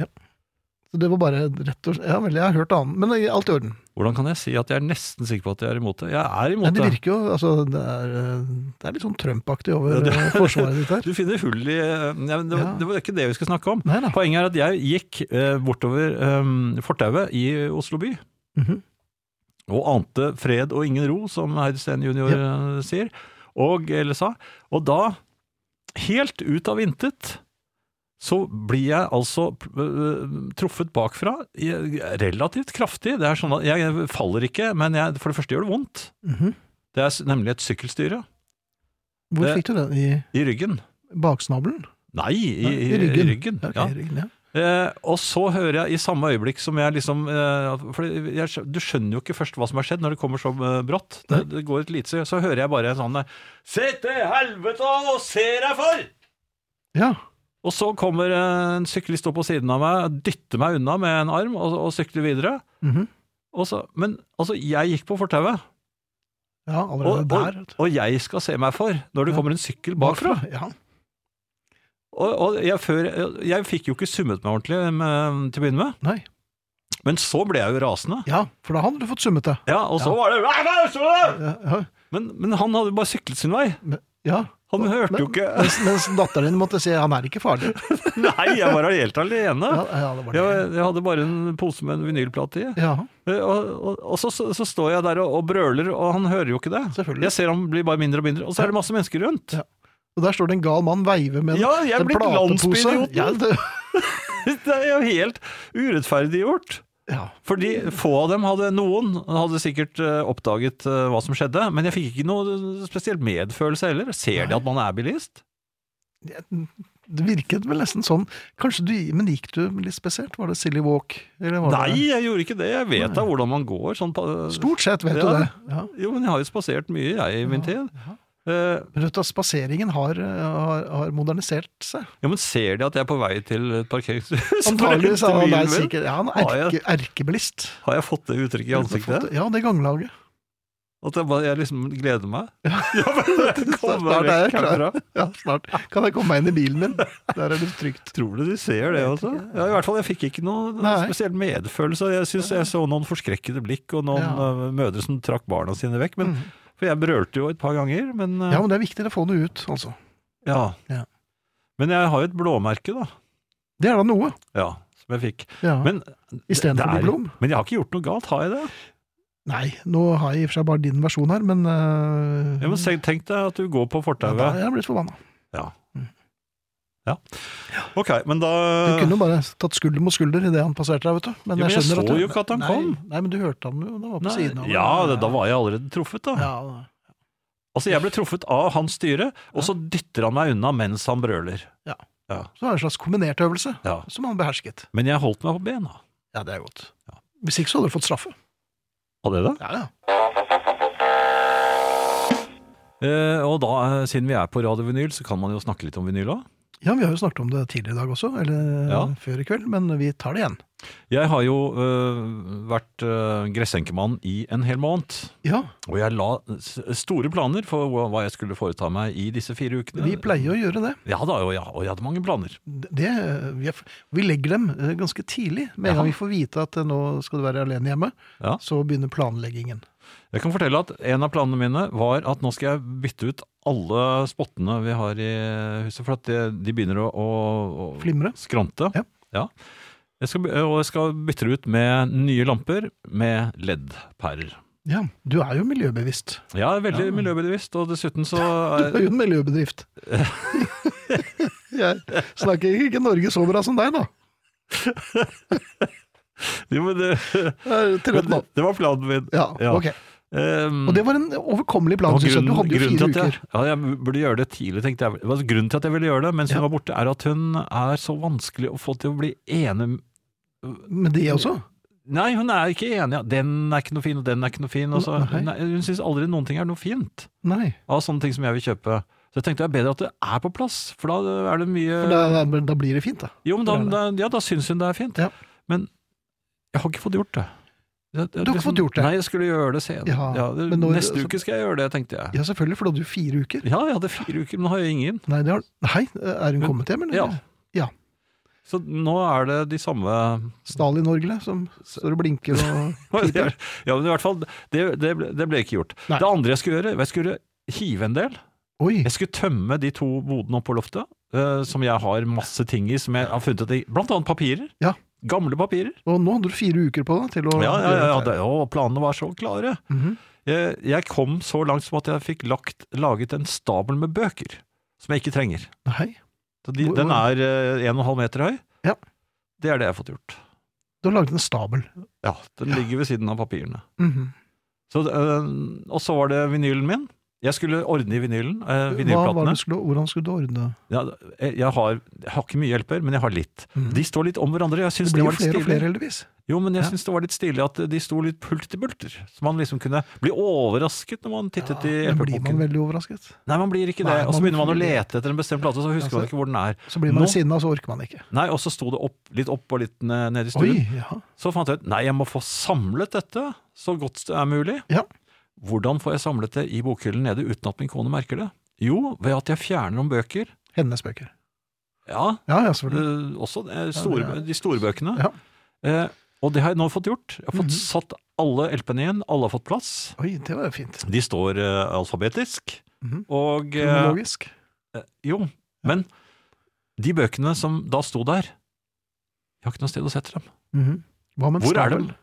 [SPEAKER 2] Så det var bare rett og slett Ja vel, jeg har hørt annet, men det er alt i orden.
[SPEAKER 3] Hvordan kan jeg si at jeg er nesten sikker på at jeg er imot det? Jeg er
[SPEAKER 2] Nei,
[SPEAKER 3] imot
[SPEAKER 2] det
[SPEAKER 3] det.
[SPEAKER 2] virker jo altså, det, er, eh, det er litt sånn Trump-aktig over
[SPEAKER 3] Ja, det-
[SPEAKER 2] eh, forsvaret ditt her.
[SPEAKER 3] Du finner hull i eh, ja, men det, var-
[SPEAKER 2] Ja.
[SPEAKER 3] det var ikke det vi skulle snakke om.
[SPEAKER 2] Nei da.
[SPEAKER 3] Poenget er at jeg gikk eh, bortover eh, fortauet i Oslo by.
[SPEAKER 2] Mhm.
[SPEAKER 3] Og ante fred og ingen ro, som Heidsten junior eh, sier. Og, eller sa. Og da, helt ut av intet, så blir jeg altså eh, truffet bakfra i- relativt kraftig. Det er sånn at jeg faller ikke, men jeg, for det første gjør det vondt.
[SPEAKER 2] Mhm.
[SPEAKER 3] Det er s- nemlig et sykkelstyre
[SPEAKER 2] Hvor
[SPEAKER 3] Det-
[SPEAKER 2] fikk du den? I
[SPEAKER 3] i ryggen.
[SPEAKER 2] baksnabelen?
[SPEAKER 3] Nei, i,
[SPEAKER 2] Nei,
[SPEAKER 3] i ryggen.
[SPEAKER 2] Ja, ok,
[SPEAKER 3] ja.
[SPEAKER 2] i ryggen, ja.
[SPEAKER 3] Eh, og så hører jeg i samme øyeblikk som jeg liksom eh, For jeg, skj- du skjønner jo ikke først hva som har skjedd når det kommer så eh, brått. Det, det går et lite sekund, Så hører jeg bare en sånn eh, Se til helvete og se deg for!
[SPEAKER 2] ja.
[SPEAKER 3] Og så kommer eh, en syklist opp på siden av meg, dytter meg unna med en arm og, og sykler videre.
[SPEAKER 2] Mhm.
[SPEAKER 3] Og så, men altså, jeg gikk på fortauet,
[SPEAKER 2] ja, allerede
[SPEAKER 3] og,
[SPEAKER 2] der.
[SPEAKER 3] og, og jeg skal se meg for når det
[SPEAKER 2] Ja.
[SPEAKER 3] kommer en sykkel bakfra.
[SPEAKER 2] Ja.
[SPEAKER 3] Og, og jeg, før, jeg fikk jo ikke summet meg ordentlig med, til å begynne med,
[SPEAKER 2] Nei.
[SPEAKER 3] men så ble jeg jo rasende.
[SPEAKER 2] ja, for da hadde du fått summet det.
[SPEAKER 3] Ja, og så
[SPEAKER 2] Ja.
[SPEAKER 3] var det «Hva er det som er?»
[SPEAKER 2] Ja, ja.
[SPEAKER 3] men, men han hadde bare syklet sin vei.
[SPEAKER 2] Men- ja.
[SPEAKER 3] Han hørte jo ikke
[SPEAKER 2] Mens, mens datteren din måtte si han er ikke farlig.
[SPEAKER 3] Nei, jeg var helt alene.
[SPEAKER 2] Ja, ja, det var det.
[SPEAKER 3] Jeg, jeg hadde bare en pose med en vinylplate i. Eh,
[SPEAKER 2] Ja,
[SPEAKER 3] Og, og, og så, så, så står jeg der og, og brøler, og han hører jo ikke det.
[SPEAKER 2] selvfølgelig.
[SPEAKER 3] Jeg ser han blir bare mindre og mindre, og så er det masse mennesker rundt.
[SPEAKER 2] Ja. Og der står det en gal mann veive med en,
[SPEAKER 3] Ja, jeg er
[SPEAKER 2] en
[SPEAKER 3] blitt
[SPEAKER 2] platepose.
[SPEAKER 3] landsbyidioten.
[SPEAKER 2] Ja, det,
[SPEAKER 3] Det er jo helt urettferdiggjort.
[SPEAKER 2] ja.
[SPEAKER 3] Fordi få av dem hadde Noen hadde sikkert eh, oppdaget eh, hva som skjedde, men jeg fikk ikke noe spesielt medfølelse heller. Ser de at man er bilist?
[SPEAKER 2] det virket vel nesten sånn. Kanskje du, Men gikk du litt spesielt? Var det Silly Walk? Eller var
[SPEAKER 3] Nei,
[SPEAKER 2] Det,
[SPEAKER 3] jeg gjorde ikke det. Jeg vet da hvordan man går. Sånn, pa-
[SPEAKER 2] stort sett, vet
[SPEAKER 3] Ja.
[SPEAKER 2] du det. Ja.
[SPEAKER 3] Jo, men jeg har jo spasert mye, jeg, i min tid.
[SPEAKER 2] ja.
[SPEAKER 3] Eh,
[SPEAKER 2] Men vet du, Spaseringen har, har, har modernisert seg.
[SPEAKER 3] ja, men ser de at jeg er på vei til et parkeringshus?
[SPEAKER 2] Antakeligvis er han der
[SPEAKER 3] Bilen min?
[SPEAKER 2] sikkert Ja, han
[SPEAKER 3] Har
[SPEAKER 2] er
[SPEAKER 3] jeg-
[SPEAKER 2] erke, erkebilist.
[SPEAKER 3] Har jeg fått det uttrykket i ansiktet?
[SPEAKER 2] Ja, det ganglaget.
[SPEAKER 3] At jeg, bare, jeg liksom gleder meg? Ja, men det kommer
[SPEAKER 2] Snart er jeg
[SPEAKER 3] vekk herfra.
[SPEAKER 2] Ja, snart. Kan jeg komme meg inn i bilen min? Der er det trygt.
[SPEAKER 3] Tror du de ser det også? Ja, i hvert fall, jeg fikk ikke noe
[SPEAKER 2] Nei.
[SPEAKER 3] spesiell medfølelse. Jeg synes jeg så noen forskrekkede blikk, og noen
[SPEAKER 2] Ja. Mm.
[SPEAKER 3] eh, mødre som trakk barna sine vekk. Men, For jeg brølte jo et par ganger, men eh,
[SPEAKER 2] Ja, men det er viktigere å få det ut, altså.
[SPEAKER 3] ja.
[SPEAKER 2] Ja.
[SPEAKER 3] Men jeg har jo et blåmerke, da.
[SPEAKER 2] Det er da noe.
[SPEAKER 3] Ja, som jeg fikk.
[SPEAKER 2] Ja.
[SPEAKER 3] Men, det
[SPEAKER 2] Istedenfor
[SPEAKER 3] er-
[SPEAKER 2] Blom.
[SPEAKER 3] men jeg har ikke gjort noe galt, har jeg det?
[SPEAKER 2] Nei, nå har jeg i og for seg bare din versjon her, men øh,
[SPEAKER 3] Ja, men se- Tenk deg at du går
[SPEAKER 2] ja,
[SPEAKER 3] på
[SPEAKER 2] da
[SPEAKER 3] fortauet.
[SPEAKER 2] er jeg blitt forbanna.
[SPEAKER 3] Ja. ja. Ok, men da
[SPEAKER 2] Du kunne jo bare tatt skulder mot skulder idet han passerte deg, vet du.
[SPEAKER 3] Ja, men jeg
[SPEAKER 2] skjønner
[SPEAKER 3] så jo ikke at han
[SPEAKER 2] nei,
[SPEAKER 3] kom.
[SPEAKER 2] Nei, men du hørte han jo, det var på
[SPEAKER 3] Nei,
[SPEAKER 2] siden av
[SPEAKER 3] ja, det, da var jeg allerede truffet, da.
[SPEAKER 2] ja,
[SPEAKER 3] Altså, jeg ble truffet av hans styre, og så dytter han meg unna mens han brøler.
[SPEAKER 2] Så det var en slags kombinert øvelse
[SPEAKER 3] Ja.
[SPEAKER 2] som han behersket.
[SPEAKER 3] Men jeg holdt meg på bena.
[SPEAKER 2] Ja, det er godt. Hvis ikke så hadde du fått straffe.
[SPEAKER 3] Av det da?
[SPEAKER 2] Ja, ja.
[SPEAKER 3] Eh, og da, eh, siden vi er på Radio Vinyl, så kan man jo snakke litt om vinyl òg.
[SPEAKER 2] ja, vi har jo snakket om det tidligere i dag også, eller eh,
[SPEAKER 3] Ja.
[SPEAKER 2] før i kveld, men vi tar det igjen.
[SPEAKER 3] Jeg har jo eh, vært eh, gressenkemann i en hel måned.
[SPEAKER 2] Ja,
[SPEAKER 3] Og jeg la s- store planer for hva hva jeg skulle foreta meg i disse fire ukene.
[SPEAKER 2] vi pleier å gjøre det.
[SPEAKER 3] Ja da, og jeg, og jeg hadde mange planer.
[SPEAKER 2] det vi, er, vi legger dem eh, ganske tidlig. Med en
[SPEAKER 3] Jaha.
[SPEAKER 2] gang vi får vite at eh, nå skal du være alene hjemme,
[SPEAKER 3] Ja.
[SPEAKER 2] så begynner planleggingen.
[SPEAKER 3] Jeg kan fortelle at en av planene mine var at nå skal jeg bytte ut alle spottene vi har i huset, for at de, de begynner å, å, å
[SPEAKER 2] Flimre.
[SPEAKER 3] Skrante.
[SPEAKER 2] Ja.
[SPEAKER 3] Jeg skal, by- og jeg skal bytte det ut med nye lamper med LED-pærer.
[SPEAKER 2] Ja, du er jo miljøbevisst.
[SPEAKER 3] Jeg er veldig miljøbevisst, og dessuten så
[SPEAKER 2] Du er
[SPEAKER 3] er,
[SPEAKER 2] jo en miljøbedrift. Jeg snakker ikke Norge så bra som deg, da.
[SPEAKER 3] jo, men det,
[SPEAKER 2] Det er til rett
[SPEAKER 3] men
[SPEAKER 2] nå.
[SPEAKER 3] det var planen min.
[SPEAKER 2] Ja,
[SPEAKER 3] Ja.
[SPEAKER 2] ok.
[SPEAKER 3] Ehm,
[SPEAKER 2] Og det var en overkommelig plan,
[SPEAKER 3] og
[SPEAKER 2] syns jeg. Du hadde jo
[SPEAKER 3] grunnen
[SPEAKER 2] fire
[SPEAKER 3] til at
[SPEAKER 2] uker.
[SPEAKER 3] jeg, ja, jeg burde gjøre det tidlig, tenkte jeg. Det var Grunnen til at jeg ville gjøre det mens
[SPEAKER 2] Ja.
[SPEAKER 3] hun var borte, er at hun er så vanskelig å få til å bli enig
[SPEAKER 2] Med det også?
[SPEAKER 3] Nei, hun er ikke enig. Den er ikke noe fin, og den er ikke noe fin. Og så,
[SPEAKER 2] Nei.
[SPEAKER 3] nei, hun syns aldri noen ting er noe fint
[SPEAKER 2] Nei.
[SPEAKER 3] av sånne ting som jeg vil kjøpe. Så jeg tenkte det er bedre at det er på plass, for da er det mye
[SPEAKER 2] For da, da, da blir det fint, da.
[SPEAKER 3] Jo, men da,
[SPEAKER 2] Det er det.
[SPEAKER 3] da, ja, da syns hun det er fint.
[SPEAKER 2] Ja.
[SPEAKER 3] Men jeg har ikke fått gjort det. Jeg- jeg
[SPEAKER 2] Du har ikke fått gjort det?
[SPEAKER 3] Nei, jeg skulle gjøre det senere.
[SPEAKER 2] Ja,
[SPEAKER 3] Ja, det,
[SPEAKER 2] men når-
[SPEAKER 3] neste
[SPEAKER 2] så-
[SPEAKER 3] uke skal jeg gjøre det, tenkte jeg.
[SPEAKER 2] Ja, selvfølgelig, for da hadde du fire uker.
[SPEAKER 3] Ja, jeg hadde fire uker, men nå har jeg ingen.
[SPEAKER 2] Nei, det har... Hei, er hun kommet hjem, eller?
[SPEAKER 3] Ja. Så nå er det de samme
[SPEAKER 2] Stalin-orgelet som liksom. står og blinker og
[SPEAKER 3] Ja, men i hvert fall, det, det, ble, det ble ikke gjort.
[SPEAKER 2] Nei.
[SPEAKER 3] Det andre jeg skulle gjøre, jeg skulle hive en del.
[SPEAKER 2] Oi!
[SPEAKER 3] Jeg skulle tømme de to bodene oppe på loftet, eh, som jeg har masse ting i, som jeg har funnet ut i, blant annet papirer.
[SPEAKER 2] Ja.
[SPEAKER 3] Gamle papirer.
[SPEAKER 2] Og nå hadde du fire uker på deg til å
[SPEAKER 3] Ja, ja, ja, ja,
[SPEAKER 2] gjøre
[SPEAKER 3] det, å, planene var så klare.
[SPEAKER 2] Mhm.
[SPEAKER 3] jeg, jeg kom så langt som at jeg fikk lagt, laget en stabel med bøker, som jeg ikke trenger.
[SPEAKER 2] Nei,
[SPEAKER 3] Så de,
[SPEAKER 2] Hvor-
[SPEAKER 3] den er eh, en og en halv meter høy.
[SPEAKER 2] Ja.
[SPEAKER 3] Det er det jeg har fått gjort.
[SPEAKER 2] du har laget en stabel.
[SPEAKER 3] Ja, den ligger ved siden av papirene.
[SPEAKER 2] Mhm.
[SPEAKER 3] Så, eh, og så var det vinylen min. Jeg skulle ordne i vinylen, eh,
[SPEAKER 2] Hva var
[SPEAKER 3] vinylplatene.
[SPEAKER 2] det du skulle, hvordan skulle du ordne
[SPEAKER 3] Ja, jeg, jeg, har, jeg har ikke mye hjelper, men jeg har litt.
[SPEAKER 2] Mhm.
[SPEAKER 3] De står litt om hverandre. Jeg
[SPEAKER 2] Det
[SPEAKER 3] synes det,
[SPEAKER 2] blir jo
[SPEAKER 3] var litt
[SPEAKER 2] flere og
[SPEAKER 3] stilig.
[SPEAKER 2] flere, heldigvis.
[SPEAKER 3] Jo, men jeg
[SPEAKER 2] Ja.
[SPEAKER 3] synes det var litt stilig at de sto litt pult til bulter. Så man liksom kunne bli overrasket når man tittet i
[SPEAKER 2] men blir man
[SPEAKER 3] LP-boken.
[SPEAKER 2] veldig overrasket.
[SPEAKER 3] Nei, man blir ikke det.
[SPEAKER 2] Nei,
[SPEAKER 3] og så
[SPEAKER 2] man
[SPEAKER 3] begynner man å
[SPEAKER 2] blir-
[SPEAKER 3] lete etter en bestemt plate, og så husker
[SPEAKER 2] Altså-
[SPEAKER 3] man ikke hvor den er.
[SPEAKER 2] Så blir man
[SPEAKER 3] Nå-
[SPEAKER 2] sinna, så orker man ikke.
[SPEAKER 3] Nei, og så sto det opp, litt opp og litt ned, ned i stuen.
[SPEAKER 2] Oi, ja.
[SPEAKER 3] Så fant jeg ut nei, jeg må få samlet dette så godt det er mulig.
[SPEAKER 2] Ja.
[SPEAKER 3] Hvordan får jeg samlet det i bokhyllen nede uten at min kone merker det? Jo, ved at jeg fjerner noen bøker.
[SPEAKER 2] Hennes bøker.
[SPEAKER 3] Ja,
[SPEAKER 2] Ja, ja, selvfølgelig.
[SPEAKER 3] eh, også eh, store,
[SPEAKER 2] det er-
[SPEAKER 3] de store bøkene.
[SPEAKER 2] Ja. Mhm.
[SPEAKER 3] Eh, og det har jeg nå fått gjort. Jeg har fått satt alle LP-ene igjen. Alle har fått plass.
[SPEAKER 2] Oi, det var jo fint.
[SPEAKER 3] De står eh, alfabetisk.
[SPEAKER 2] Mhm.
[SPEAKER 3] Og eh,
[SPEAKER 2] Kronologisk.
[SPEAKER 3] Jo, men de bøkene som da sto der Jeg har ikke noe sted å sette dem.
[SPEAKER 2] Mhm. Hva med en
[SPEAKER 3] Hvor er
[SPEAKER 2] stabel?
[SPEAKER 3] dem?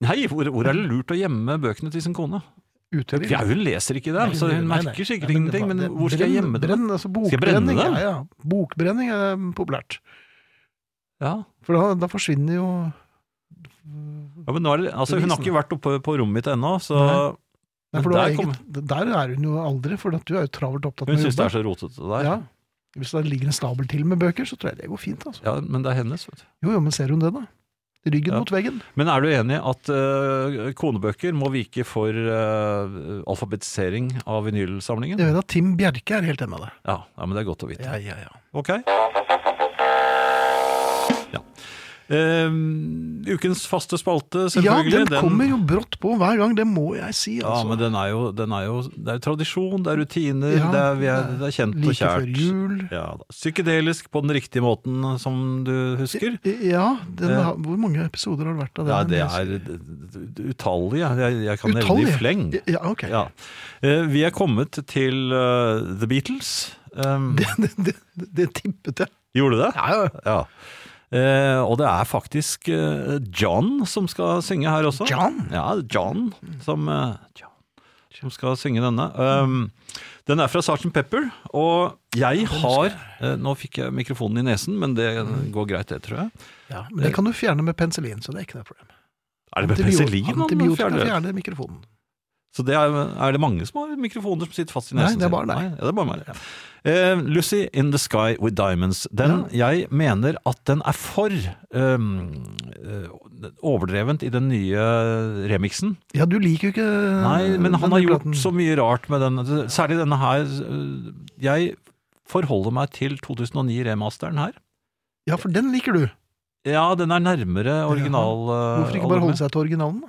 [SPEAKER 3] Nei, hvor, hvor er det lurt å gjemme bøkene til sin kone?
[SPEAKER 2] Ute i-
[SPEAKER 3] Ja, hun leser ikke dem, så Altså, hun
[SPEAKER 2] Nei, nei.
[SPEAKER 3] merker sikkert
[SPEAKER 2] Nei, men
[SPEAKER 3] ingenting.
[SPEAKER 2] hva-
[SPEAKER 3] Men
[SPEAKER 2] det-
[SPEAKER 3] hvor skal jeg
[SPEAKER 2] brenn-
[SPEAKER 3] gjemme dem?
[SPEAKER 2] Brenn, altså
[SPEAKER 3] jeg brenne
[SPEAKER 2] bokbrenning,
[SPEAKER 3] dem?
[SPEAKER 2] ja, ja. Bokbrenning er populært.
[SPEAKER 3] Ja.
[SPEAKER 2] For da, da forsvinner jo
[SPEAKER 3] Ja, men nå er det, altså, hun har ikke vært oppe på rommet mitt ennå, så
[SPEAKER 2] Nei,
[SPEAKER 3] Men
[SPEAKER 2] for da
[SPEAKER 3] der
[SPEAKER 2] er egentlig, Der er hun jo aldri, for at du er jo travelt opptatt
[SPEAKER 3] hun
[SPEAKER 2] med å
[SPEAKER 3] syns det
[SPEAKER 2] jobbe.
[SPEAKER 3] er så rotete der.
[SPEAKER 2] Ja. Hvis det ligger en stabel til med bøker, så tror jeg det går fint. altså.
[SPEAKER 3] Ja, men det er hennes, vet du.
[SPEAKER 2] Jo, jo, men ser hun det, da? Ryggen
[SPEAKER 3] Ja.
[SPEAKER 2] mot veggen.
[SPEAKER 3] Men er du enig at eh, konebøker må vike for eh, alfabetisering av vinylsamlingen?
[SPEAKER 2] Jeg vet at Tim Bjerke er helt enig med deg.
[SPEAKER 3] Ja, ja, men det er godt å vite.
[SPEAKER 2] Ja, ja, ja.
[SPEAKER 3] Ok. Ja. Eh, ukens faste spalte,
[SPEAKER 2] ja,
[SPEAKER 3] selvfølgelig.
[SPEAKER 2] den kommer jo brått på hver gang, det må jeg si.
[SPEAKER 3] Ja,
[SPEAKER 2] Altså.
[SPEAKER 3] men den er jo, den er jo Det er jo tradisjon, det er rutiner,
[SPEAKER 2] Ja,
[SPEAKER 3] det, er, vi er, det er kjent
[SPEAKER 2] like
[SPEAKER 3] og kjært.
[SPEAKER 2] før jul.
[SPEAKER 3] Ja, da. Psykedelisk på den riktige måten, som du husker.
[SPEAKER 2] Ja, den,
[SPEAKER 3] Eh.
[SPEAKER 2] har- Hvor mange episoder har det vært av den?
[SPEAKER 3] Ja, det er utallige. Jeg, jeg kan nevne
[SPEAKER 2] Utallige?
[SPEAKER 3] i fleng.
[SPEAKER 2] Ja, ok.
[SPEAKER 3] Ja. Eh, Vi er kommet til eh, The Beatles. Um,
[SPEAKER 2] Det, det, det, det tippet jeg.
[SPEAKER 3] Gjorde du det?
[SPEAKER 2] Ja, ja.
[SPEAKER 3] Ja. Eh, og det er faktisk eh, John som skal synge her også.
[SPEAKER 2] John?
[SPEAKER 3] Sånn. Ja, John som, eh, John, som skal synge denne. Um, den er fra Sgt. Pepper, og jeg har eh, Nå fikk jeg mikrofonen i nesen, men det går greit, det, tror jeg.
[SPEAKER 2] Ja, men det kan du fjerne med penicillin, så det er ikke noe problem.
[SPEAKER 3] Er det med
[SPEAKER 2] Antibio-
[SPEAKER 3] penicillin han
[SPEAKER 2] Antibiotika
[SPEAKER 3] fjerner?
[SPEAKER 2] fjerner mikrofonen.
[SPEAKER 3] Så det er, er det mange som har mikrofoner som sitter fast i
[SPEAKER 2] Nei,
[SPEAKER 3] nesen?
[SPEAKER 2] det er
[SPEAKER 3] sin?
[SPEAKER 2] bare deg.
[SPEAKER 3] Nei, ja, det er bare meg. Eh, Lucy in the Sky with Diamonds. Den, Jeg mener at den er for ehm, eh, overdrevent i den nye remixen.
[SPEAKER 2] Ja, du liker jo ikke
[SPEAKER 3] Nei, men han har gjort
[SPEAKER 2] Eh, platen.
[SPEAKER 3] så mye rart med den. Særlig denne her. eh, Jeg forholder meg til 2009-remasteren her.
[SPEAKER 2] Ja, for den liker du.
[SPEAKER 3] Ja, den er nærmere original. eh,
[SPEAKER 2] Hvorfor ikke bare holde
[SPEAKER 3] albumet.
[SPEAKER 2] seg til originalen, da?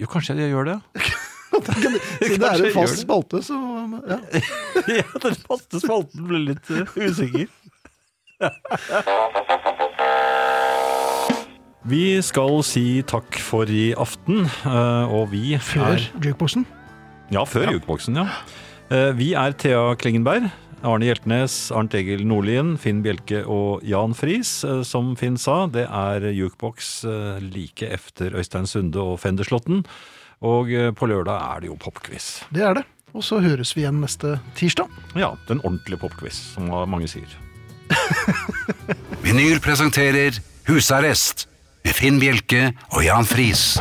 [SPEAKER 3] Jo, kanskje jeg gjør det.
[SPEAKER 2] Siden det er
[SPEAKER 3] Kanskje
[SPEAKER 2] en fast
[SPEAKER 3] gjør
[SPEAKER 2] spalte, så ja.
[SPEAKER 3] ja, den faste spalten ble litt eh, usikker. Vi skal si takk for i aften, eh, og vi
[SPEAKER 2] Før
[SPEAKER 3] er
[SPEAKER 2] jukeboxen.
[SPEAKER 3] Ja, før jukeboksen, ja. Eh, Vi er Thea Klingenberg, Arne Hjeltnes, Arnt Egil Nordlien, Finn Bjelke og Jan Friis. Eh, Som Finn sa, det er jukeboks eh, like efter Øystein Sunde og Fenderslotten. Og eh, på lørdag er det jo popquiz.
[SPEAKER 2] Det er det. Og så høres vi igjen neste tirsdag.
[SPEAKER 3] Ja, den ordentlige popquiz, som mange sier.
[SPEAKER 1] Vinyl presenterer Husarrest med Finn Bjelke og Jan Friis.